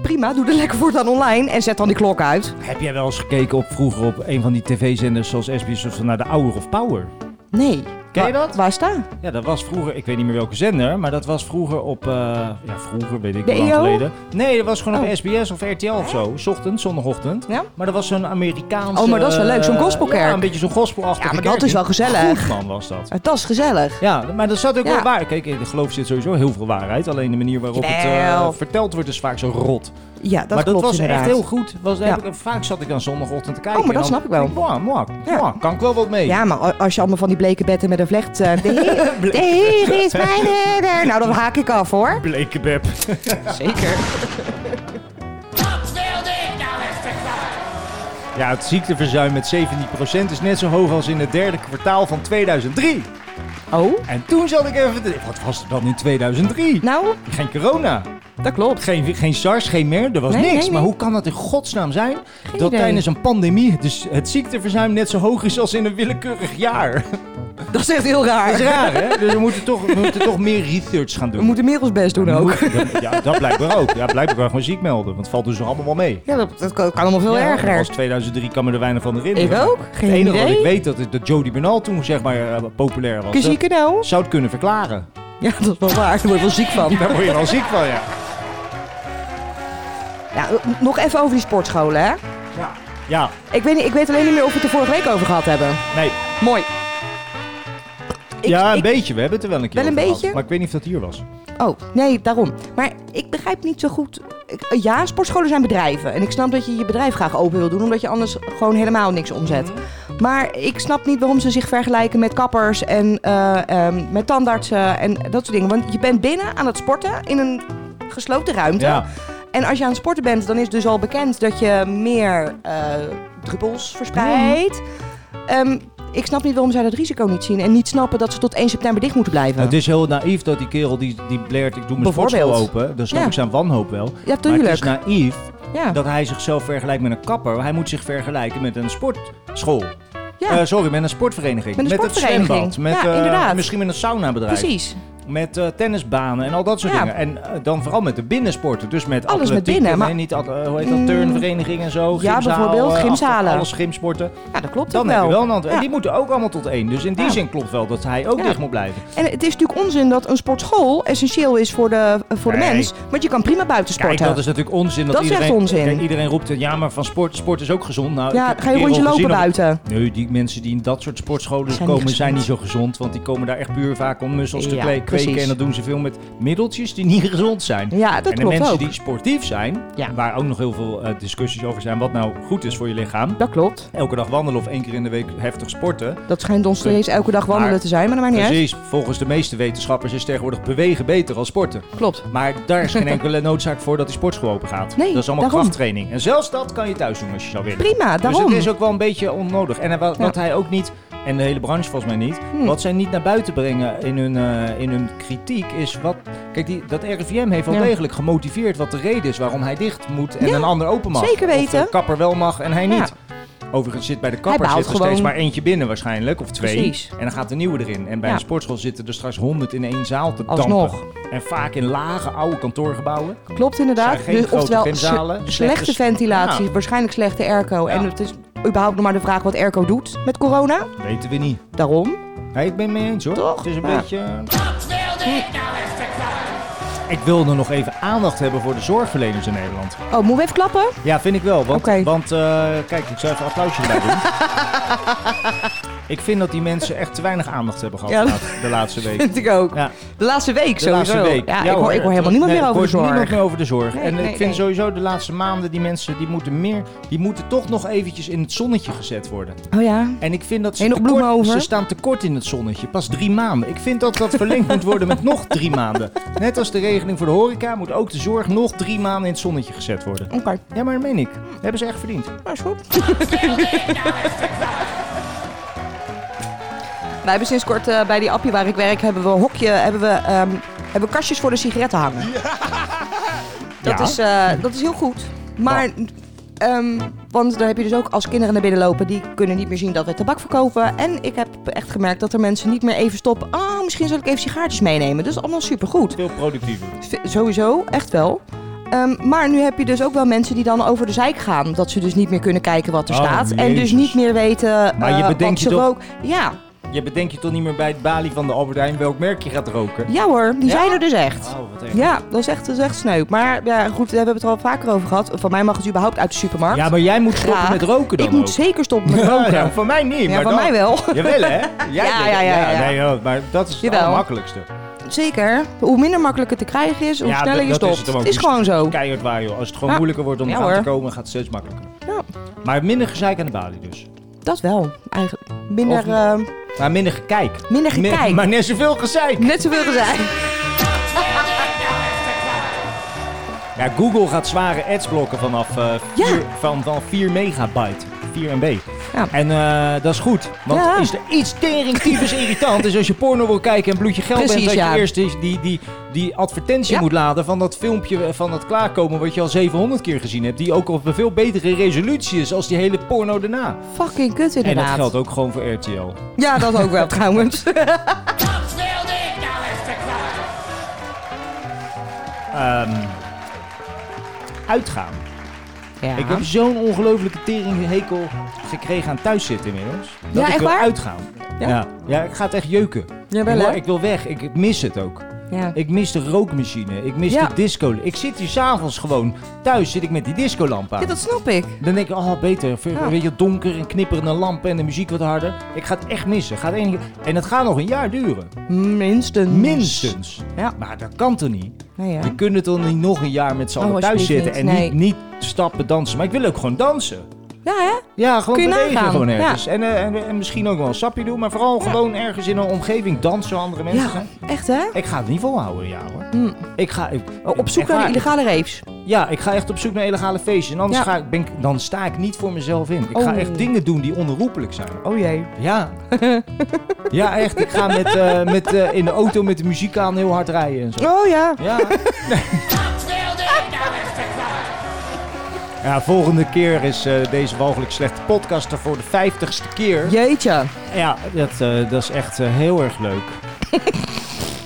C: prima, doe er lekker voor dan online en zet dan die klok uit.
A: Heb jij wel eens gekeken op vroeger op een van die tv-zenders zoals SBS of naar de Hour of Power?
C: Nee.
A: Ken je
C: Wa-
A: dat?
C: Waar staat?
A: Ja, dat was vroeger, ik weet niet meer welke zender, maar dat was vroeger op, eh, ja vroeger weet ik
C: De
A: hoe lang
C: EO?
A: geleden. Nee, dat was gewoon op
C: Oh.
A: SBS of RTL of zo, 's ochtends, zondagochtend.
C: Ja?
A: Maar dat was zo'n Amerikaanse...
C: Oh, maar dat is wel leuk, zo'n
A: eh,
C: gospelkerk.
A: Ja, een beetje zo'n gospelachtige
C: Ja, maar
A: kerk
C: dat is wel
A: die-
C: gezellig.
A: Goed man was dat.
C: Eh, Dat is gezellig.
A: Ja, maar dat zat ook
C: Ja.
A: wel waar. Kijk, in de geloof zit sowieso heel veel waarheid. Alleen de manier waarop het eh,
C: Jawel.
A: verteld wordt is vaak zo rot.
C: Ja, dat
A: maar dat
C: klopt
A: was
C: inderdaad.
A: echt heel goed. Was,
C: Ja.
A: heb ik, vaak zat ik dan zondagochtend te kijken.
C: Oh, maar dat
A: en dan
C: snap ik wel.
A: denk Mwah, mwah,
C: Ja.
A: mwah, kan ik wel wat mee.
C: Ja, maar a- als je allemaal van die bleke bedden met een vlecht... eh, de, heer, de heer is mijn herder. Nou, dan haak ik af hoor.
A: Bleke beb.
C: Zeker.
B: Dat wilde ik nou echt verklaren.
A: Ja, het ziekteverzuim met 17% is net zo hoog als in het derde kwartaal van 2003.
C: Oh?
A: En toen zat ik even te Wat was er dan in 2003?
C: Nou,
A: Geen corona.
C: dat klopt.
A: Geen, geen SARS, geen MERS, er was
C: Nee,
A: niks.
C: nee, nee.
A: Maar hoe kan dat in godsnaam zijn dat
C: idee.
A: dus tijdens een pandemie het, het ziekteverzuim net zo hoog is als in een willekeurig jaar?
C: Dat, Dat is echt heel raar.
A: Dat is raar, hè? Dus we moeten toch, we moeten toch meer research gaan doen.
C: We moeten meer ons best doen ook.
A: Moet- Ja, dat blijkbaar ook. Ja, blijkbaar gewoon ziek melden. Want het valt dus nog allemaal wel mee.
C: Ja, dat, dat kan kan allemaal veel
A: Ja,
C: erger.
A: Als 2003 kan me er weinig van herinneren.
C: Ik ook. Geen
A: het enige
C: idee.
A: wat ik weet dat, dat Jody Bernal toen zeg maar eh, populair was.
C: Kun je
A: Dat
C: zieken nou?
A: zou het kunnen verklaren.
C: Ja, dat is wel waar. Daar word ik wel ziek van.
A: Daar word je wel ziek van, ja.
C: Ja, eh, nog even over die sportscholen, hè?
A: Ja,
C: Ik weet, niet, ik weet alleen niet meer of we het er vorige week over gehad hebben.
A: nee.
C: Mooi. Ik-
A: ja, een
C: ik-
A: beetje. We hebben het er wel een keer
C: Wel een
A: over gehad.
C: beetje?
A: Maar ik weet niet of dat hier was.
C: Oh, nee, daarom. Maar ik begrijp niet zo goed. ik- eh, Ja, sportscholen zijn bedrijven. En ik snap dat je je bedrijf graag open wil doen, omdat je anders gewoon helemaal niks omzet.
A: Mhm.
C: Maar ik snap niet waarom ze zich vergelijken met kappers en eh, ehm, met tandartsen en dat soort dingen. Want je bent binnen aan het sporten in een gesloten ruimte.
A: Ja.
C: En als je aan het sporten bent, dan is dus al bekend dat je meer eh druppels verspreidt.
A: Mhm.
C: Ehm, ik snap niet waarom zij dat risico niet zien. En niet snappen dat ze tot 1 september dicht moeten blijven.
A: Nou, Het is heel naïef dat die kerel die, die blaert, ik doe mijn
C: Bijvoorbeeld.
A: sportschool open. Dan snap
C: Ja.
A: ik zijn wanhoop wel.
C: Ja,
A: Maar
C: tuurlijk.
A: het is naïef
C: ja.
A: dat hij zichzelf vergelijkt met een kapper. Hij moet zich vergelijken met een sportschool.
C: Ja.
A: Eh, sorry, met een sportvereniging.
C: Met een sportvereniging.
A: het zwembad. Met,
C: Ja,
A: eh,
C: inderdaad.
A: Misschien met een saunabedrijf.
C: Precies.
A: Met eh, tennisbanen en al dat soort
C: Ja.
A: dingen. En eh, dan vooral met de binnensporten. Dus met
C: Alles met
A: atletiek
C: binnen,
A: en
C: maar- Mm.
A: niet at- eh, hoe heet dat, turnvereniging en zo.
C: Ja,
A: gymzaal,
C: bijvoorbeeld,
A: eh,
C: gymzalen.
A: Alles gymsporten.
C: Ja, dat klopt
A: Dan
C: ook
A: heb je
C: wel.
A: wel een antwoord. En
C: Ja.
A: die moeten ook allemaal tot één. Dus in die
C: Ja.
A: zin klopt wel dat hij ook
C: Ja.
A: dicht moet blijven.
C: En het is natuurlijk onzin dat een sportschool essentieel is voor de, voor de
A: Nee.
C: mens. Want je kan prima buiten
A: Kijk,
C: sporten.
A: dat is natuurlijk onzin. Dat,
C: Dat is echt
A: iedereen,
C: onzin.
A: Kijk, iedereen roept, eh, ja, maar van sport, sport is ook gezond. Nou, ik
C: ja,
A: heb
C: ga je
A: een
C: een
A: kerel
C: rondje lopen
A: gezien op-
C: buiten.
A: Nee, die mensen die in dat soort sportscholen
C: Zijn niet
A: komen, zijn niet
C: gezond.
A: zo gezond. Want die komen daar echt puur vaak om mussels te
C: Ja,
A: kle- kweken.
C: precies.
A: En dat doen ze veel met middeltjes die niet gezond zijn.
C: Ja, dat
A: en de
C: klopt
A: mensen
C: ook.
A: die sportief zijn,
C: Ja.
A: waar ook nog heel veel eh, discussies over zijn wat nou goed is voor je lichaam.
C: Dat klopt.
A: Elke dag wandelen of één keer in de week heftig sporten.
C: Dat schijnt ons steeds elke dag wandelen
A: Maar-
C: te zijn, maar dat maakt niet uit.
A: Precies, volgens de meeste wetenschappers is tegenwoordig bewegen beter dan sporten.
C: Klopt.
A: Maar daar is geen enkele noodzaak voor dat die sportschool open gaat.
C: Nee,
A: dat is allemaal
C: daarom.
A: krachttraining. En zelfs dat kan je thuis doen als je zou willen.
C: Prima,
A: Dus
C: daarom.
A: het is ook wel een beetje onnodig. En hij wa- wat,
C: Ja. Hmm.
A: hij ook niet, en de hele branche volgens mij niet, wat zij niet naar buiten brengen in hun, eh, in hun kritiek is wat. Kijk, die, dat RIVM heeft wel
C: Ja.
A: degelijk gemotiveerd wat de reden is waarom hij dicht moet en
C: Ja,
A: een ander open mag.
C: zeker
A: Of de
C: weten.
A: kapper wel mag en hij
C: Ja.
A: niet. Overigens zit bij de kapper
C: behaalt
A: zit er steeds
C: gewoon-
A: maar eentje binnen waarschijnlijk, of twee.
C: Precies.
A: En dan gaat de nieuwe erin. En bij
C: Ja.
A: een sportschool zitten er straks honderd in één zaal te dampen.
C: Alsnog.
A: En vaak in lage oude kantoorgebouwen.
C: Klopt inderdaad. Dus
A: Zijn geen grote
C: oftewel,
A: gymzalen,
C: sle-
A: slechte
C: slechte
A: s-
C: ventilatie,
A: Ja.
C: waarschijnlijk slechte airco. En
A: Ja.
C: het is überhaupt nog maar de vraag wat airco doet met corona.
A: Weten we niet.
C: Daarom.
A: Nee, ik ben het mee eens hoor.
C: Toch?
A: Het is een
C: Ja.
A: beetje... Ik wilde nog even aandacht hebben voor de zorgverleners in Nederland.
C: Oh, moeten we even klappen?
A: Ja, vind ik wel. Want,
C: Oké.
A: want eh, kijk, ik zou even een applausje erbij doen. ik vind dat die mensen echt te weinig aandacht hebben gehad
C: Ja,
A: de
C: dat-
A: laat- de laatste week.
C: Vind ik ook.
A: Ja.
C: De laatste week
A: De
C: sowieso.
A: laatste week.
C: Ja, ik, hoor, ik hoor helemaal niemand
A: Nee,
C: meer
A: ik
C: over de
A: hoor niemand
C: zorg.
A: meer over de zorg.
C: Nee,
A: en
C: nee,
A: ik vind
C: nee.
A: sowieso de laatste maanden, die mensen die moeten meer, die moeten toch nog eventjes in het zonnetje gezet worden.
C: Oh ja.
A: En ik vind dat ze,
C: Heb je nog
A: tekort-
C: bloemen over?
A: ze staan tekort in het zonnetje. Pas drie maanden. Ik vind dat dat verlengd moet worden met nog drie maanden. Net als de regeling voor de horeca moet ook de zorg nog drie maanden in het zonnetje gezet worden.
C: Oké.
A: Ja, maar dat meen ik. Dat hebben ze echt verdiend.
C: Maar is goed. Wij hebben sinds kort eh, bij die appie waar ik werk, hebben we een hokje, hebben we, ehm, hebben we kastjes voor de sigaretten hangen. Dat,
A: Ja.
C: is, eh, dat is heel goed. Maar, ehm, want daar heb je dus ook als kinderen naar binnen lopen, die kunnen niet meer zien dat we tabak verkopen. En ik heb echt gemerkt dat er mensen niet meer even stoppen. Ah, misschien zal ik even sigaartjes meenemen. Dat is allemaal supergoed.
A: Veel productiever.
C: V- Sowieso, echt wel. Ehm, maar nu heb je dus ook wel mensen die dan over de zijk gaan. Dat ze dus niet meer kunnen kijken wat er
A: Oh,
C: staat. En
A: Jezus.
C: dus niet meer weten
A: Maar
C: eh,
A: je bedenkt
C: wat
A: je
C: ze
A: toch-
C: rook- Ja,
A: Je bedenkt je toch niet meer bij het balie van de Albert Heijn welk merk je gaat roken?
C: ja hoor, die
A: Ja?
C: zijn er dus echt.
A: Oh, wat erg.
C: Ja, dat is echt, dat is echt sneu. Maar ja, goed, daar hebben we het al vaker over gehad. Van mij mag het überhaupt uit de supermarkt.
A: Ja, maar jij moet stoppen
C: Graag.
A: met roken dan
C: ik moet
A: ook.
C: zeker stoppen met
A: Ja,
C: roken.
A: ja, van mij niet,
C: Ja,
A: maar
C: van
A: dan-
C: mij wel.
A: Jawel, hè? Jij
C: Ja,
A: bent-
C: ja, ja, ja.
A: Nee, joh, maar dat is het
C: Jawel.
A: allermakkelijkste.
C: Zeker. Hoe minder makkelijk het te krijgen is, hoe
A: Ja,
C: sneller
A: dat-
C: je
A: dat
C: stopt.
A: is het dan ook.
C: is gewoon zo.
A: Keihard waar, joh. Als het gewoon
C: Ja.
A: moeilijker wordt om
C: Ja,
A: aan te
C: hoor.
A: komen, gaat het steeds makkelijker.
C: Ja,
A: Maar minder gezeik aan de balie dus.
C: dat wel, eigenlijk. Minder,
A: Of-
C: eh,
A: Maar minder gekijk.
C: minder gekijk.
A: maar net zoveel gezeik.
C: Net zoveel gezegd.
A: Ja, Google gaat zware ads blokken vanaf, eh
C: Ja.
A: 4, van, van 4 megabyte. 4 MB.
C: Ja.
A: En eh, dat is goed. Want
C: Ja.
A: is er iets teringtyfus irritant is als je porno wil kijken en bloedje geld bent...
C: Precies,
A: dat
C: ja.
A: je eerst die, die, die, die advertentie
C: Ja.
A: moet laden van dat filmpje eh, van dat klaarkomen... wat je al 700 keer gezien hebt. Die ook op een veel betere resolutie is als die hele porno daarna.
C: Fucking kut inderdaad.
A: En dat geldt ook gewoon voor RTL.
C: Ja, dat ook wel trouwens.
B: Dat wilde ik nou echt verklaren.
A: Ehm, uitgaan.
C: Ja.
A: Ik heb zo'n ongelofelijke teringhekel gekregen aan thuiszitten inmiddels.
C: Ja,
A: Dat ik
C: echt
A: wil
C: waar?
A: uitgaan.
C: Ja?
A: Ja. ja, ik ga het echt jeuken.
C: Ja, wel,
A: ik, wil,
C: hè?
A: ik wil weg. Ik, ik mis het ook.
C: Ja.
A: Ik mis de rookmachine. Ik mis
C: Ja.
A: de disco. Ik zit hier s'avonds gewoon. Thuis zit ik met die discolamp aan.
C: Ja, dat snap ik.
A: Dan denk ik, oh beter, Ver-
C: Ja.
A: weet je, donker en knipperende lampen en de muziek wat harder. Ik ga het echt missen. Gaat één- En het gaat nog een jaar duren.
C: Minstens.
A: Minstens.
C: Ja.
A: Maar dat kan toch niet?
C: Nee, ja.
A: We kunnen toch niet nog een jaar met z'n
C: Oh,
A: allen thuis
C: alsjeblieft
A: zitten en
C: niet.
A: niet, niet stappen dansen. Maar ik wil ook gewoon dansen.
C: ja, hè?
A: Ja, gewoon
C: Kun je
A: bewegen
C: nagaan,
A: gewoon
C: ja.
A: ergens. En, eh, en, en misschien ook wel een sapje doen, maar vooral gewoon ergens in een omgeving dansen waar andere mensen.
C: Ja,
A: zijn.
C: echt hè? Oh,
A: Ik ga het niet volhouden, ja hoor. Ik Mm. ga, ik, oh,
C: Op zoek
A: echt
C: naar de
A: waar,
C: illegale reefs.
A: ik- Ja, ik ga echt op zoek naar illegale feestjes. En anders
C: Ja.
A: ga ik, ben, ik- dan sta ik niet voor mezelf in. Ik ga
C: Oh.
A: echt dingen doen die onherroepelijk zijn.
C: Oh jee.
A: Ja. ja, echt. Ik ga met, eh, met, eh, in de auto met de muziek aan heel hard rijden en zo.
C: Oh ja.
A: Ja.
B: Dat wilde ik nou echt verklaren.
A: ja, volgende keer is eh, deze walgelijk slechte podcast er voor de vijftigste keer.
C: Jeetje.
A: Ja, dat, eh, dat is echt eh, heel erg leuk.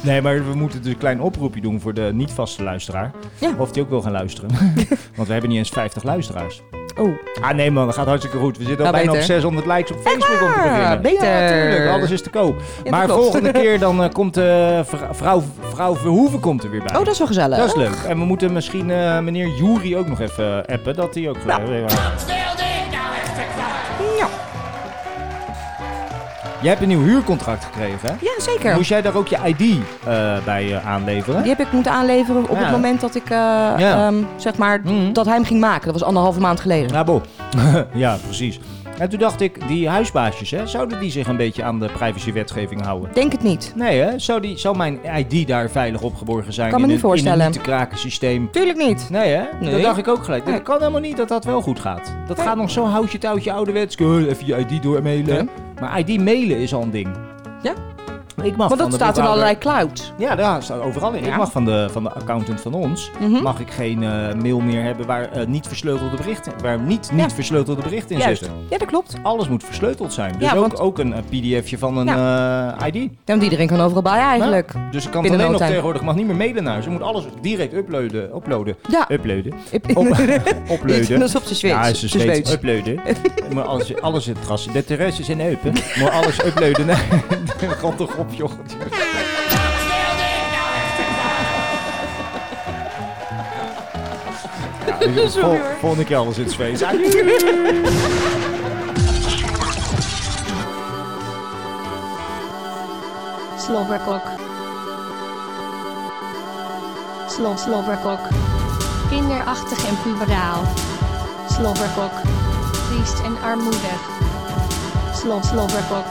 A: Nee, maar we moeten dus een klein oproepje doen voor de niet-vaste luisteraar.
C: Ja.
A: Of die ook wil gaan luisteren. Want we hebben niet eens 50 luisteraars.
C: Oh.
A: Ah nee man, dat gaat hartstikke goed. We zitten al
C: Nou,
A: bijna op
C: beter.
A: 600 likes op Facebook om te
C: waar?
A: beginnen.
C: Beter.
A: Ja, tuurlijk. Alles is te koop.
C: dat
A: maar
C: klopt.
A: volgende keer dan eh, komt eh, vrou- vrouw, vrouw Verhoeven komt er weer bij.
C: Oh, dat is wel gezellig.
A: Dat is leuk. En we moeten misschien eh, meneer Jury ook nog even eh, appen. Dat hij ook...
C: Nou.
B: Dat wilde ik nou echt verklaren.
A: Jij hebt een nieuw huurcontract gekregen, hè?
C: Ja, zeker.
A: Moest jij daar ook je ID eh, bij eh, aanleveren?
C: Die heb ik moeten aanleveren op
A: Ja.
C: het moment dat ik, eh,
A: Ja.
C: ehm, zeg maar,
A: Mhm.
C: dat hij hem ging maken. Dat was anderhalve maand geleden.
A: Ja, bo. Nou, ja, precies. En toen dacht ik, die huisbaasjes, hè, zouden die zich een beetje aan de privacywetgeving houden?
C: Denk het niet.
A: Nee, hè? Zou, die, zou mijn ID daar veilig opgeborgen zijn
C: Kan me
A: in,
C: niet
A: een, in een
C: voorstellen.
A: niet te kraken systeem?
C: Tuurlijk niet.
A: Nee, hè? Dat
C: Nee.
A: dacht ik ook gelijk.
C: Nee.
A: Dat kan helemaal niet dat dat wel goed gaat. Dat gaat nog zo houtje touwtje ouderwets. Eh, Even je ID doormailen. Maar ID mailen is al een ding.
C: Ja.
A: Ik mag van
C: Want dat
A: de
C: staat in
A: boekhouder-
C: allerlei cloud.
A: Ja, daar staat overal in. Ik
C: Ja.
A: mag van de, van de accountant van ons
C: Mhm.
A: mag ik geen eh, mail meer hebben waar eh, niet versleutelde berichten, waar niet, niet
C: Ja.
A: versleutelde berichten in
C: Juist.
A: zitten.
C: Ja, dat klopt.
A: Alles moet versleuteld zijn. Dus
C: Ja,
A: ook,
C: want-
A: ook een eh, pdfje van een eh, ID.
C: Ja, want iedereen kan overal bij eigenlijk.
A: Ja? Dus ik kan het
C: Binnen
A: alleen
C: no
A: nog
C: time.
A: tegenwoordig. Ik mag niet meer mailen naar. Ze moet alles direct uploaden. Uploaden.
C: Ja.
A: Uploaden.
C: Ik-
A: Op,
C: Dat
A: uploaden.
C: is op de Zweeds.
A: Ja, is een
C: De
A: steeds
C: Zweeds.
A: uploaden. Maar alles, alles in het gras. De terrassen zijn open. Maar alles uploaden. Nee, Kom toch op, joh.
B: Dat wilde ik nou echt verklaren.
A: Ja, dus vol, volgende keer alles in het Zweeds.
E: Slobberkok. Slob slobberkok. Kinderachtig en puberaal. Slobberkok. Triest en armoedig. Slob slobberkok.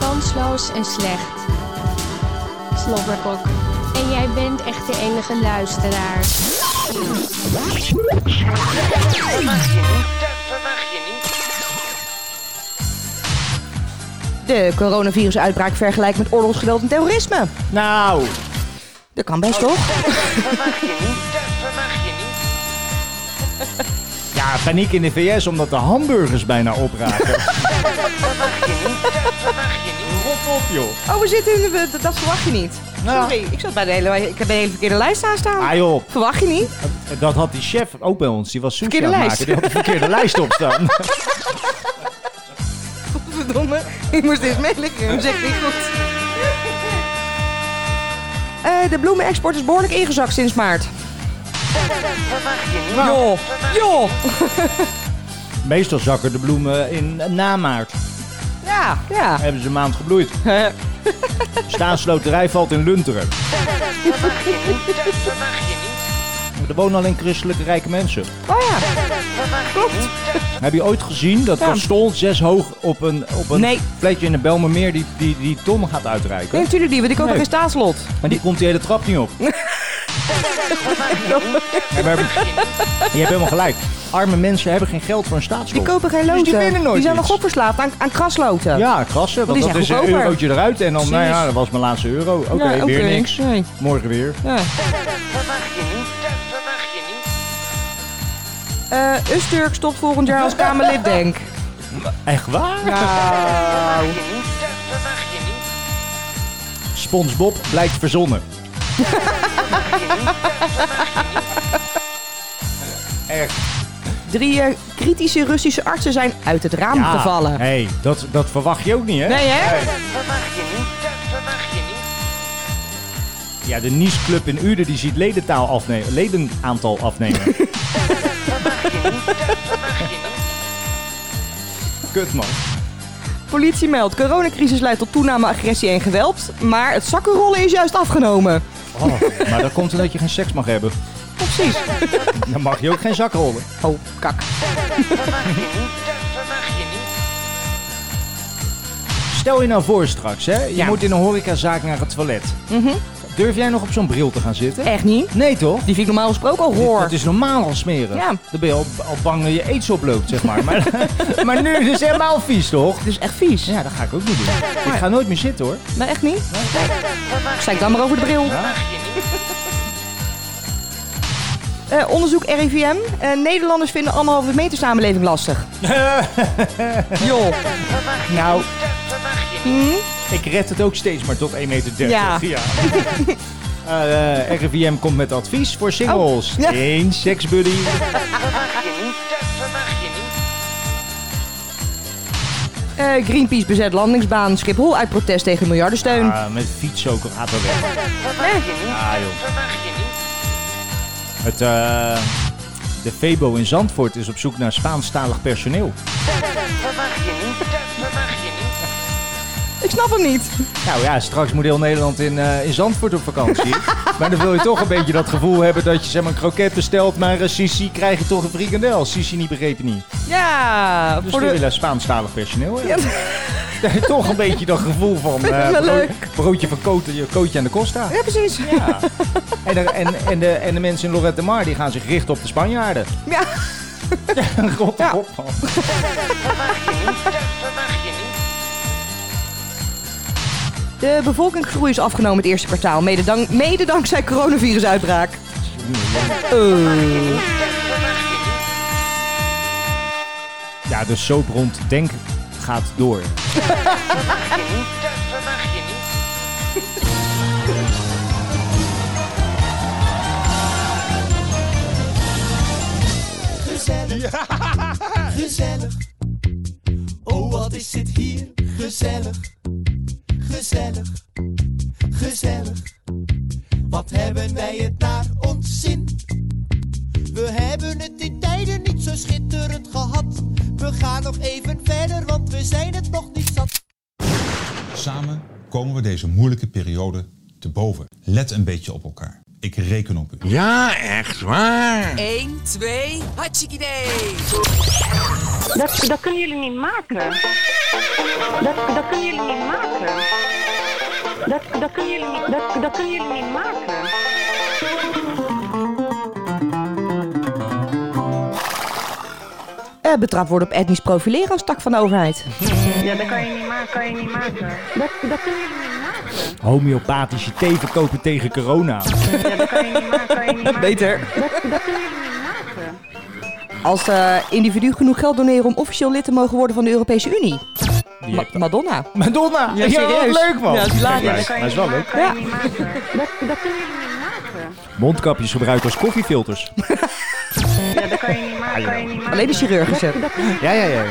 E: Kansloos en slecht. Slobberkok. En jij bent echt de enige luisteraar.
H: Verwacht je niet, dat verwacht je niet.
C: De coronavirusuitbraak vergelijkt met oorlogsgeweld en terrorisme.
A: Nou.
C: Dat kan
A: Oh.
C: best toch?
H: Verwacht je niet, dat verwacht je niet.
A: Ja, paniek in de VS omdat de hamburgers bijna opraken.
H: Verwacht je niet, dat verwacht je niet.
A: Rot op, joh.
C: Oh, we zitten in de... we- Dat verwacht je niet.
A: Nou.
C: Sorry, ik zat bij de hele... Ik heb de hele verkeerde lijst aanstaan.
A: Ah, joh.
C: Verwacht je niet?
A: Dat had die chef ook bij ons. Die was sushi
C: Verkeerde
A: aan het maken.
C: lijst.
A: Die had de verkeerde lijst op staan.
C: Oh, Verdomme, ik moest eens meelikken. Hem zegt niet goed. Eh, de bloemenexport is behoorlijk ingezakt sinds maart.
H: Verwacht je niet.
A: Nou.
C: Joh, joh.
A: Meestal zakken de bloemen in na maart.
C: Ja, ja.
A: Hebben ze een maand gebloeid. Staatsloterij valt in Lunteren.
H: Verwacht je niet, dat verwacht je niet.
A: Er wonen alleen christelijke rijke mensen.
C: Oh ja.
H: Verwacht je niet, dat
A: Heb je ooit gezien dat
C: Ja.
A: Pastool zes hoog op een, op een
C: Nee.
A: plekje in de Belmermeer die, die, die ton gaat uitreiken?
C: Nee, natuurlijk niet, want ik had
A: Nee.
C: nog geen staatslot.
A: Maar die komt die hele trap niet op.
H: verwacht je niet.
A: Je hebt helemaal gelijk. arme mensen hebben geen geld voor een
C: Die
A: staatsschuld.
C: kopen geen
A: Dus
C: loten.
A: die winnen nooit
C: zijn
A: iets.
C: nog opverslaafd aan, aan krasloten.
A: Ja, krassen. Want
C: die
A: dat
C: zijn
A: is een
C: goedkoper.
A: eurotje eruit. En dan, nou ja,
C: Precies.
A: dat was mijn laatste euro. Oké,
C: Ja, oké.
A: weer niks.
C: Nee.
A: Morgen weer.
C: Ja.
H: Dat verwacht je niet, dat verwacht je niet.
C: Eh, Usturk stopt volgend jaar als Kamerlid, denk.
A: Echt waar?
H: Verwacht je niet, dat verwacht je niet.
A: SpongeBob blijkt verzonnen.
C: Drie eh, kritische Russische artsen zijn uit het raam
A: Ja.
C: gevallen.
A: hey, dat, dat verwacht je ook niet, hè?
C: Nee, hè?
H: Dat verwacht je niet, dat verwacht je niet.
A: Ja, de Nice Club in Uden die ziet ledentaal afnemen, ledenaantal afnemen. Kut man.
C: Politie meldt, coronacrisis leidt tot toename agressie en geweld. Maar het zakkenrollen is juist afgenomen.
A: Oh, maar dat komt omdat je geen seks mag hebben.
C: Precies.
A: Dan mag je ook geen zak rollen.
C: Oh, kak.
A: Stel je nou voor straks, hè? Je
C: Ja. Mhm.
A: moet in een horecazaak naar het toilet. Durf jij nog op zo'n bril te gaan zitten?
C: Echt niet?
A: Nee toch?
C: Die vind ik normaal gesproken al hoor.
A: Dat is normaal al smeren.
C: Ja.
A: Dan ben je al, al bang dat je aids oploopt, zeg maar. maar. Maar nu is het helemaal vies, toch?
C: Dit is echt vies.
A: Ja, dat ga ik ook niet doen. Ik ga nooit meer zitten, hoor.
C: Maar echt niet? Zeg dan maar over de bril. Eh, onderzoek RIVM. Eh, Nederlanders vinden anderhalve meter samenleving lastig. Joh.
A: Nou,
C: Hm?
A: ik red het ook steeds maar tot 1,30 meter.
C: Ja.
A: Eh, eh, RIVM komt met advies voor singles.
C: Oh, ja.
A: Eén seksbuddy.
C: Eh, Greenpeace bezet landingsbaan Schiphol uit protest tegen miljardensteun.
A: Ah, met fiets ook gaat er weg. Ah, joh. Het, eh, de Febo in Zandvoort is op zoek naar Spaanstalig personeel.
C: Ik snap hem niet.
A: Nou ja, straks moet heel Nederland in, eh, in Zandvoort op vakantie. maar dan wil je toch een beetje dat gevoel hebben dat je zeg maar, een kroket bestelt, maar een Sissi krijg je toch een frikandel. Sissi niet begrepen niet.
C: Ja,
A: Dus
C: voor
A: we
C: de...
A: willen Spaanstalig personeel. hè?
C: Ja.
A: toch een beetje dat gevoel van
C: Vind ik
A: eh,
C: wel
A: brood-
C: leuk.
A: broodje van kootje, kootje aan de Costa.
C: Ja, precies.
A: Ja. En, er- en, en, de, en de mensen in Lorette de Mar die gaan zich richten op de Spanjaarden.
C: Ja.
A: God,
C: Ja.
A: God, man.
C: De bevolkingsgroei is afgenomen het eerste kwartaal, mede, dank- mede dankzij coronavirusuitbraak. Eh.
A: Ja, de soap rond Denk gaat door.
F: Gezellig, gezellig. Oh, wat is het hier gezellig, gezellig, gezellig. Wat hebben wij het naar ons zin? We hebben het in tijden niet zo schitterend gehad. We gaan nog even verder, want we zijn het nog niet zat.
J: Samen komen we deze moeilijke periode te boven. Let een beetje op elkaar. Ik reken op u.
I: Ja, echt waar.
K: 1, 2, hartstikke idee.
H: Dat, dat kunnen jullie niet maken. Dat, dat kunnen jullie niet maken. Dat, dat, kunnen jullie niet, dat, dat kunnen jullie niet maken.
C: Eh, betrapt worden op etnisch profileren als tak van de overheid.
H: Ja, dat kan je niet maken, kan je niet maken. Dat, dat kunnen jullie niet maken.
A: Homeopathische thee verkopen tegen corona.
H: Ja, dat kan je niet maken, kan je niet maken.
C: Beter.
H: Dat, dat kunnen jullie niet maken.
C: Als eh, individu genoeg geld doneren om officieel lid te mogen worden van de Europese Unie.
A: Die
C: Ma-
A: hebt-
C: Madonna.
A: Madonna! Ja, wat
C: serieus.
A: leuk man!
C: Ja, dat is hilarisch.
A: Kijk,
H: Dat kan
A: maar
H: je
A: het is
H: niet
A: wel leuk.
H: maken, kan je niet maken. Dat, dat kunnen jullie niet maken.
A: Mondkapjes gebruikt als koffiefilters.
H: Ja, dat kan je niet maken, kan je niet maken.
C: Alleen de chirurgische.
A: Ja, ja, ja. ja.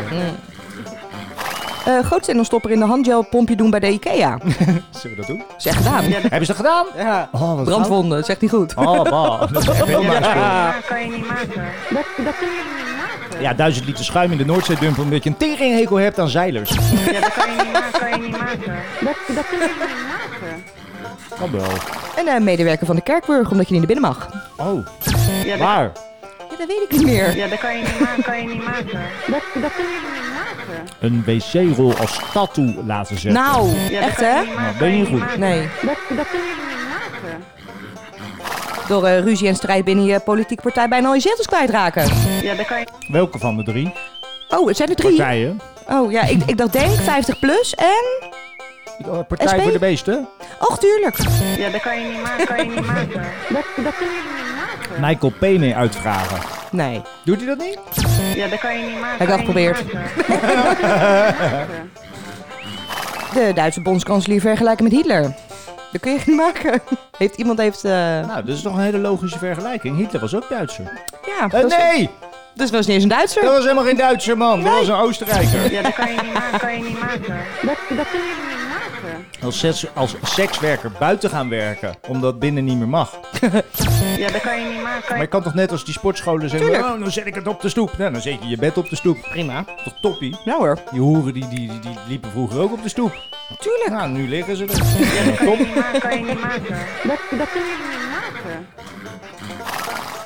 C: Eh Grootstendelstopper in de handgelpompje doen bij de Ikea.
A: Zullen we dat doen?
C: Zeg gedaan.
A: Hebben ze dat gedaan? Ja. Oh, wat
C: Brandwonden, zegt niet goed.
A: Oh, bah. Dat is echt heel naar spul.
H: Ja, kan je niet maken. Dat, dat kunnen jullie niet maken.
A: Ja, duizend liter schuim in de Noordzee dumpen omdat je een teringhekel hebt aan zeilers.
H: Ja, dat kan je niet maken, kan je niet maken. Dat, dat kunnen jullie niet maken.
A: Kan wel.
C: En een medewerker van de kerkburg, omdat je niet naar binnen mag.
A: Oh,
H: Ja, dat,
A: waar?
C: Ja, dat weet ik niet meer.
H: ja, dat kan je niet maken, kan je niet maken. Dat, dat kunnen jullie niet maken.
A: Een wc-rol als tattoo laten zetten. Nou,
C: Nou,
H: Ja, dat
C: echt
H: kan je
C: hè?
H: niet maken,
A: ben je
H: kan
A: niet
H: maken.
C: Nee.
H: Dat, dat kunnen jullie niet maken.
C: door eh, ruzie en strijd binnen je politieke partij bijna al je zetels kwijtraken.
H: Ja, daar kan je...
A: Welke van de drie
C: Oh, het zijn er drie.
A: partijen?
C: Oh ja, ik, ik dacht denk 50 plus en...
A: Partij
C: SP?
A: voor de beesten?
C: Och, tuurlijk.
H: Ja, dat kan je niet maken. Kan je niet maken. Dat, dat kunnen jullie niet maken.
A: Michael Pene uitvragen.
C: Nee.
A: Doet hij dat niet?
H: Ja, dat kan je niet maken.
C: Heb ik al
H: kan je niet
C: geprobeerd.
H: maken.
C: De Duitse bondskanselier vergelijken met Hitler. Dat kun je niet maken. Heeft iemand heeft... eh,
A: Nou, dat is toch een hele logische vergelijking. Hitler was ook Duitser.
C: ja,
A: Eh,
C: dat is-
A: nee!
C: Dus was niet eens een Duitser.
A: Dat was helemaal geen Duitser man, dat was een Oostenrijker.
H: Ja, dat kan je niet maken. Kan je niet maken. Dat, dat kunnen jullie niet maken.
A: Als, seks- als sekswerker buiten gaan werken, omdat binnen niet meer mag.
H: Ja, dat kan je niet maken. Kan
A: Maar
H: je...
A: je kan toch net als die sportscholen zeggen,
C: Tuurlijk.
A: oh, dan zet ik het op de stoep. Nou, dan zet je je bed op de stoep. Prima. Toch toppie.
C: Nou hoor.
A: Die hoeren die, die, die, die liepen vroeger ook op de stoep.
C: Tuurlijk.
A: Nou, nu liggen ze er. Ja, top.
H: Maar kan je niet maken. Dat, dat kunnen jullie niet maken.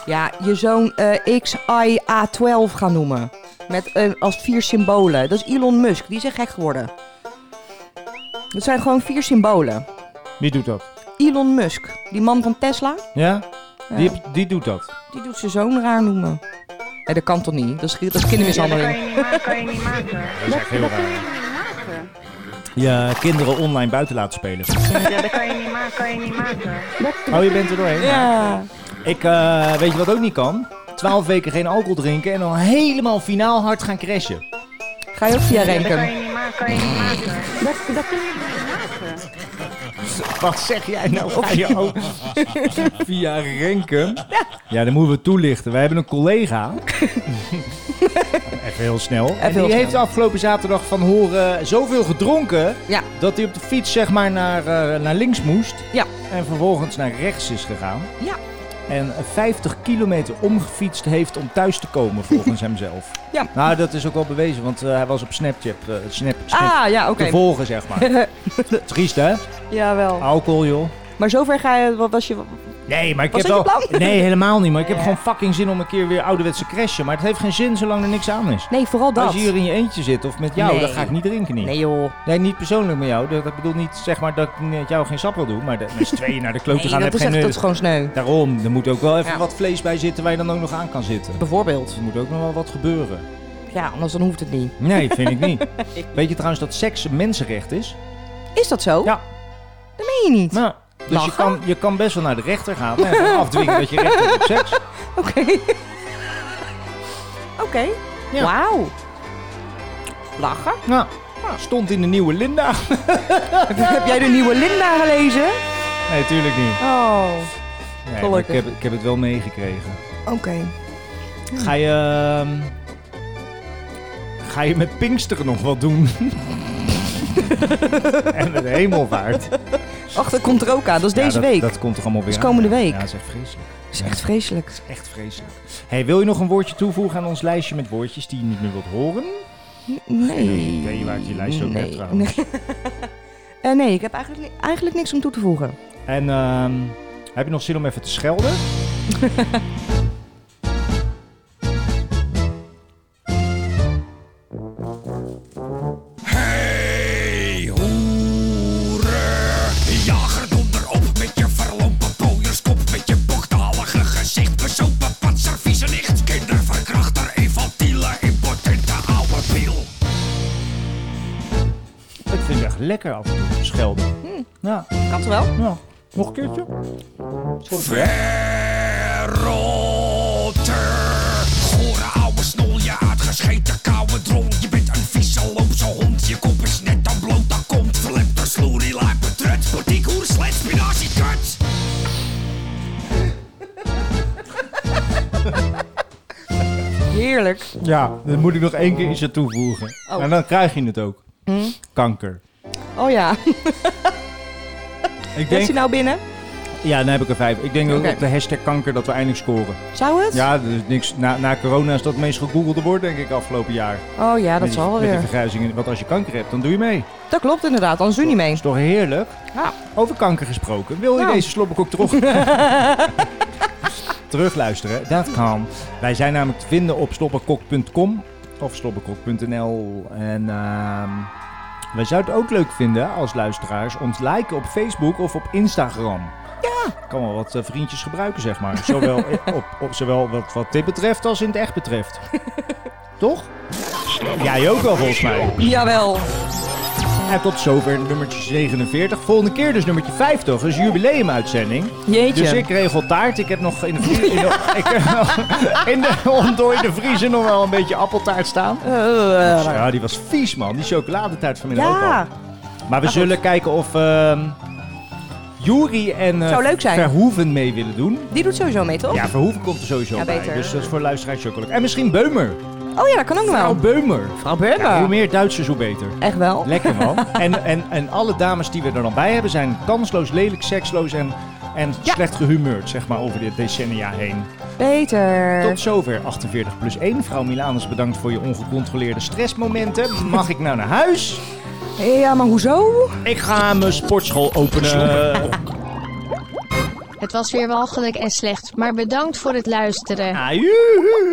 C: Ja, je zoon eh XIA12 gaan noemen. Met eh, als vier symbolen. Dat is Elon Musk. Die is echt gek geworden. Dat zijn gewoon vier symbolen.
A: Wie doet dat?
C: Elon Musk, die man van Tesla,
A: Ja? Die,
C: Ja.
A: heb- die doet dat.
C: die doet zijn zoon raar noemen. Nee, dat kan toch niet? Dat is, dat is
H: Ja, dat kan
C: kindermishandeling.
H: je niet maken. Kan je niet maken.
A: Dat is echt heel
H: Dat kunnen
A: raar.
H: jullie niet maken.
A: Je kinderen online buiten laten spelen.
H: Ja, dat kan je niet maken. Kan je niet maken.
A: Oh, je bent er doorheen?
C: Ja.
A: Ik, eh, weet je wat ook niet kan? Twaalf weken geen alcohol drinken en dan helemaal finaal hard gaan crashen.
C: Ga je ook via
H: Dat kan
C: renken?
H: je niet maken. Kan je niet maken. Dat, dat kunnen jullie niet maken.
A: Wat zeg jij nou? Ga je ook via Renken? Ja, dan moeten we toelichten. Wij hebben een collega. Even heel snel. en die
C: heel snel.
A: heeft de afgelopen zaterdag van horen zoveel gedronken...
C: Ja.
A: dat hij op de fiets zeg maar naar, eh, naar links moest.
C: Ja.
A: En vervolgens naar rechts is gegaan.
C: Ja.
A: En 50 kilometer omgefietst heeft om thuis te komen, volgens hemzelf.
C: Ja.
A: Nou, dat is ook wel bewezen, want eh, hij was op Snapchat, eh, Snap, Snap
C: Ah, ja,
A: te
C: oké.
A: volgen, zeg maar. Triest, hè?
C: Jawel.
A: Alcohol, joh.
C: Maar zover ga je, wat was je...
A: Nee, maar ik
C: Was
A: heb
C: dat je
A: wel...
C: plan?
A: Nee, helemaal niet. Maar ik heb gewoon fucking zin om een keer weer ouderwetse crashen. Maar het heeft geen zin zolang er niks aan is.
C: Nee, vooral dat.
A: Als je hier in je eentje zit of met jou,
C: Nee.
A: dan ga ik niet drinken niet.
C: Nee joh.
A: Nee, niet persoonlijk met jou. Dat, dat bedoel niet zeg maar dat ik met jou geen sap wil doen. Maar dat met z'n tweeën naar de kloot te
C: Nee,
A: gaan
C: dat
A: heb
C: is
A: geen
C: echt dat
A: nut.
C: is gewoon sneu.
A: Daarom, er moet ook wel even
C: Ja.
A: wat vlees bij zitten waar je dan ook nog aan kan zitten.
C: Bijvoorbeeld.
A: Er moet ook nog wel wat gebeuren.
C: Ja, anders dan hoeft het niet.
A: Nee, vind ik niet. Weet je trouwens dat seks een mensenrecht is?
C: Is dat zo?
A: Ja.
C: Dat meen je niet.
A: Nou, dus je
C: Lachen?
A: kan, je kan best wel naar de rechter gaan en gewoon afdwingen dat je recht hebt op seks.
C: Oké. Oké.
A: Ja.
C: Wauw. Lachen.
A: Nou, stond in de nieuwe Linda.
C: Heb jij de nieuwe Linda gelezen?
A: Nee, tuurlijk niet.
C: Oh.
A: Nee, maar ik,
C: Gelukkig.
A: heb, ik heb het wel meegekregen.
C: Oké.
A: Ga je... ehm, ga je met Pinksteren nog wat doen? en met hemelvaart.
C: Ach, dat komt er ook aan. Dat is
A: Ja,
C: deze
A: dat,
C: week.
A: Dat komt toch allemaal weer
C: Dat is
A: aan,
C: komende
A: ja.
C: week.
A: Ja, dat is echt vreselijk.
C: Dat is echt vreselijk.
A: Echt vreselijk. Hey, wil je nog een woordje toevoegen aan ons lijstje met woordjes die je niet meer wilt horen?
C: Nee.
A: Ik weet niet waar ik die lijst ook heb
C: nee.
A: trouwens.
C: Nee. Eh, nee, ik heb eigenlijk, ni- eigenlijk niks om toe te voegen.
A: En ehm, heb je nog zin om even te schelden?
B: Hey, hoeren. Jager, donder op met je verlompen pooierskop. Met je bochtalige gezicht. Bezopen patser, vieze nicht. Kinderverkrachter, infantiele, impotente oude piel.
A: Ik vind het echt lekker af en toe schelden. Ja,
C: Kan het wel?
A: ja. Nog een keertje?
B: Verrotter. Gore oude snol, je uitgescheten koude drol. Je bent een vieze loze hond. Je kop is net dan bloot, dan komt verlepter, sloerie, lijp, betrut. Boutique, hoer, slet, spinazie, kut.
C: Heerlijk.
A: Ja, dan moet ik nog één keer iets aan toevoegen.
C: Oh. Hm?
A: En dan krijg je het ook. Kanker.
C: Oh ja. Bent
A: Ik denk,
C: je nou binnen?
A: ja, dan heb ik er vijf. Ik denk ook
C: Oké.
A: op de hashtag kanker dat we eindelijk scoren.
C: Zou het?
A: Ja, dus niks, na, na corona is dat het meest gegoogelde woord, denk ik, afgelopen jaar.
C: Oh ja, dat
A: met die-
C: zal wel
A: Met die
C: weer.
A: vergrijzingen. Want als je kanker hebt, dan doe je mee.
C: Dat klopt inderdaad, anders doe je niet mee.
A: Is toch heerlijk?
C: Ja.
A: Over kanker gesproken. Wil je
C: Nou.
A: deze slobberkok terug... terugluisteren? Dat kan. Wij zijn namelijk te vinden op slobberkok.com of slobberkok.nl. En ehm wij zouden het ook leuk vinden als luisteraars ons liken op Facebook of op Instagram. Kan wel wat eh, vriendjes gebruiken, zeg maar. Zowel, op, op, zowel wat, wat dit betreft als in het echt betreft. Toch? Jij ook wel, volgens mij.
C: Jawel.
A: En tot zover nummertje 47. Volgende keer dus nummertje 50. Een jubileumuitzending.
C: Jeetje.
A: Dus ik regel taart. Ik heb nog in de, vrie- in de, ik heb nog in de ontdooide vriezer nog wel een beetje appeltaart staan. ja, die was vies, man. Die chocoladetaart vanmiddag ook al.
C: Ja.
A: Maar we zullen kijken of ehm Juri en eh,
C: Zou leuk zijn.
A: Verhoeven mee willen doen.
C: Die doet sowieso mee, toch?
A: Ja, Verhoeven komt er sowieso
C: Ja,
A: bij.
C: beter.
A: Dus dat is voor luisteraars ook wel leuk. En misschien Beumer.
C: Oh ja, dat kan ook nog
A: Vrouw
C: wel.
A: Beumer.
C: Vrouw Beumer.
A: Ja, hoe meer Duitsers, hoe beter.
C: Echt wel.
A: Lekker man. en, en, en alle dames die we er dan bij hebben zijn kansloos, lelijk, seksloos en, en slecht gehumeurd, zeg maar, over de decennia heen.
C: Beter.
A: Tot zover 48 plus 1. Vrouw Milanus, bedankt voor je ongecontroleerde stressmomenten. Mag ik nou naar huis?
C: Ja, maar hoezo?
A: Ik ga mijn sportschool openen.
E: Het was weer walgelijk en slecht, maar bedankt voor het luisteren.
A: Ajoe.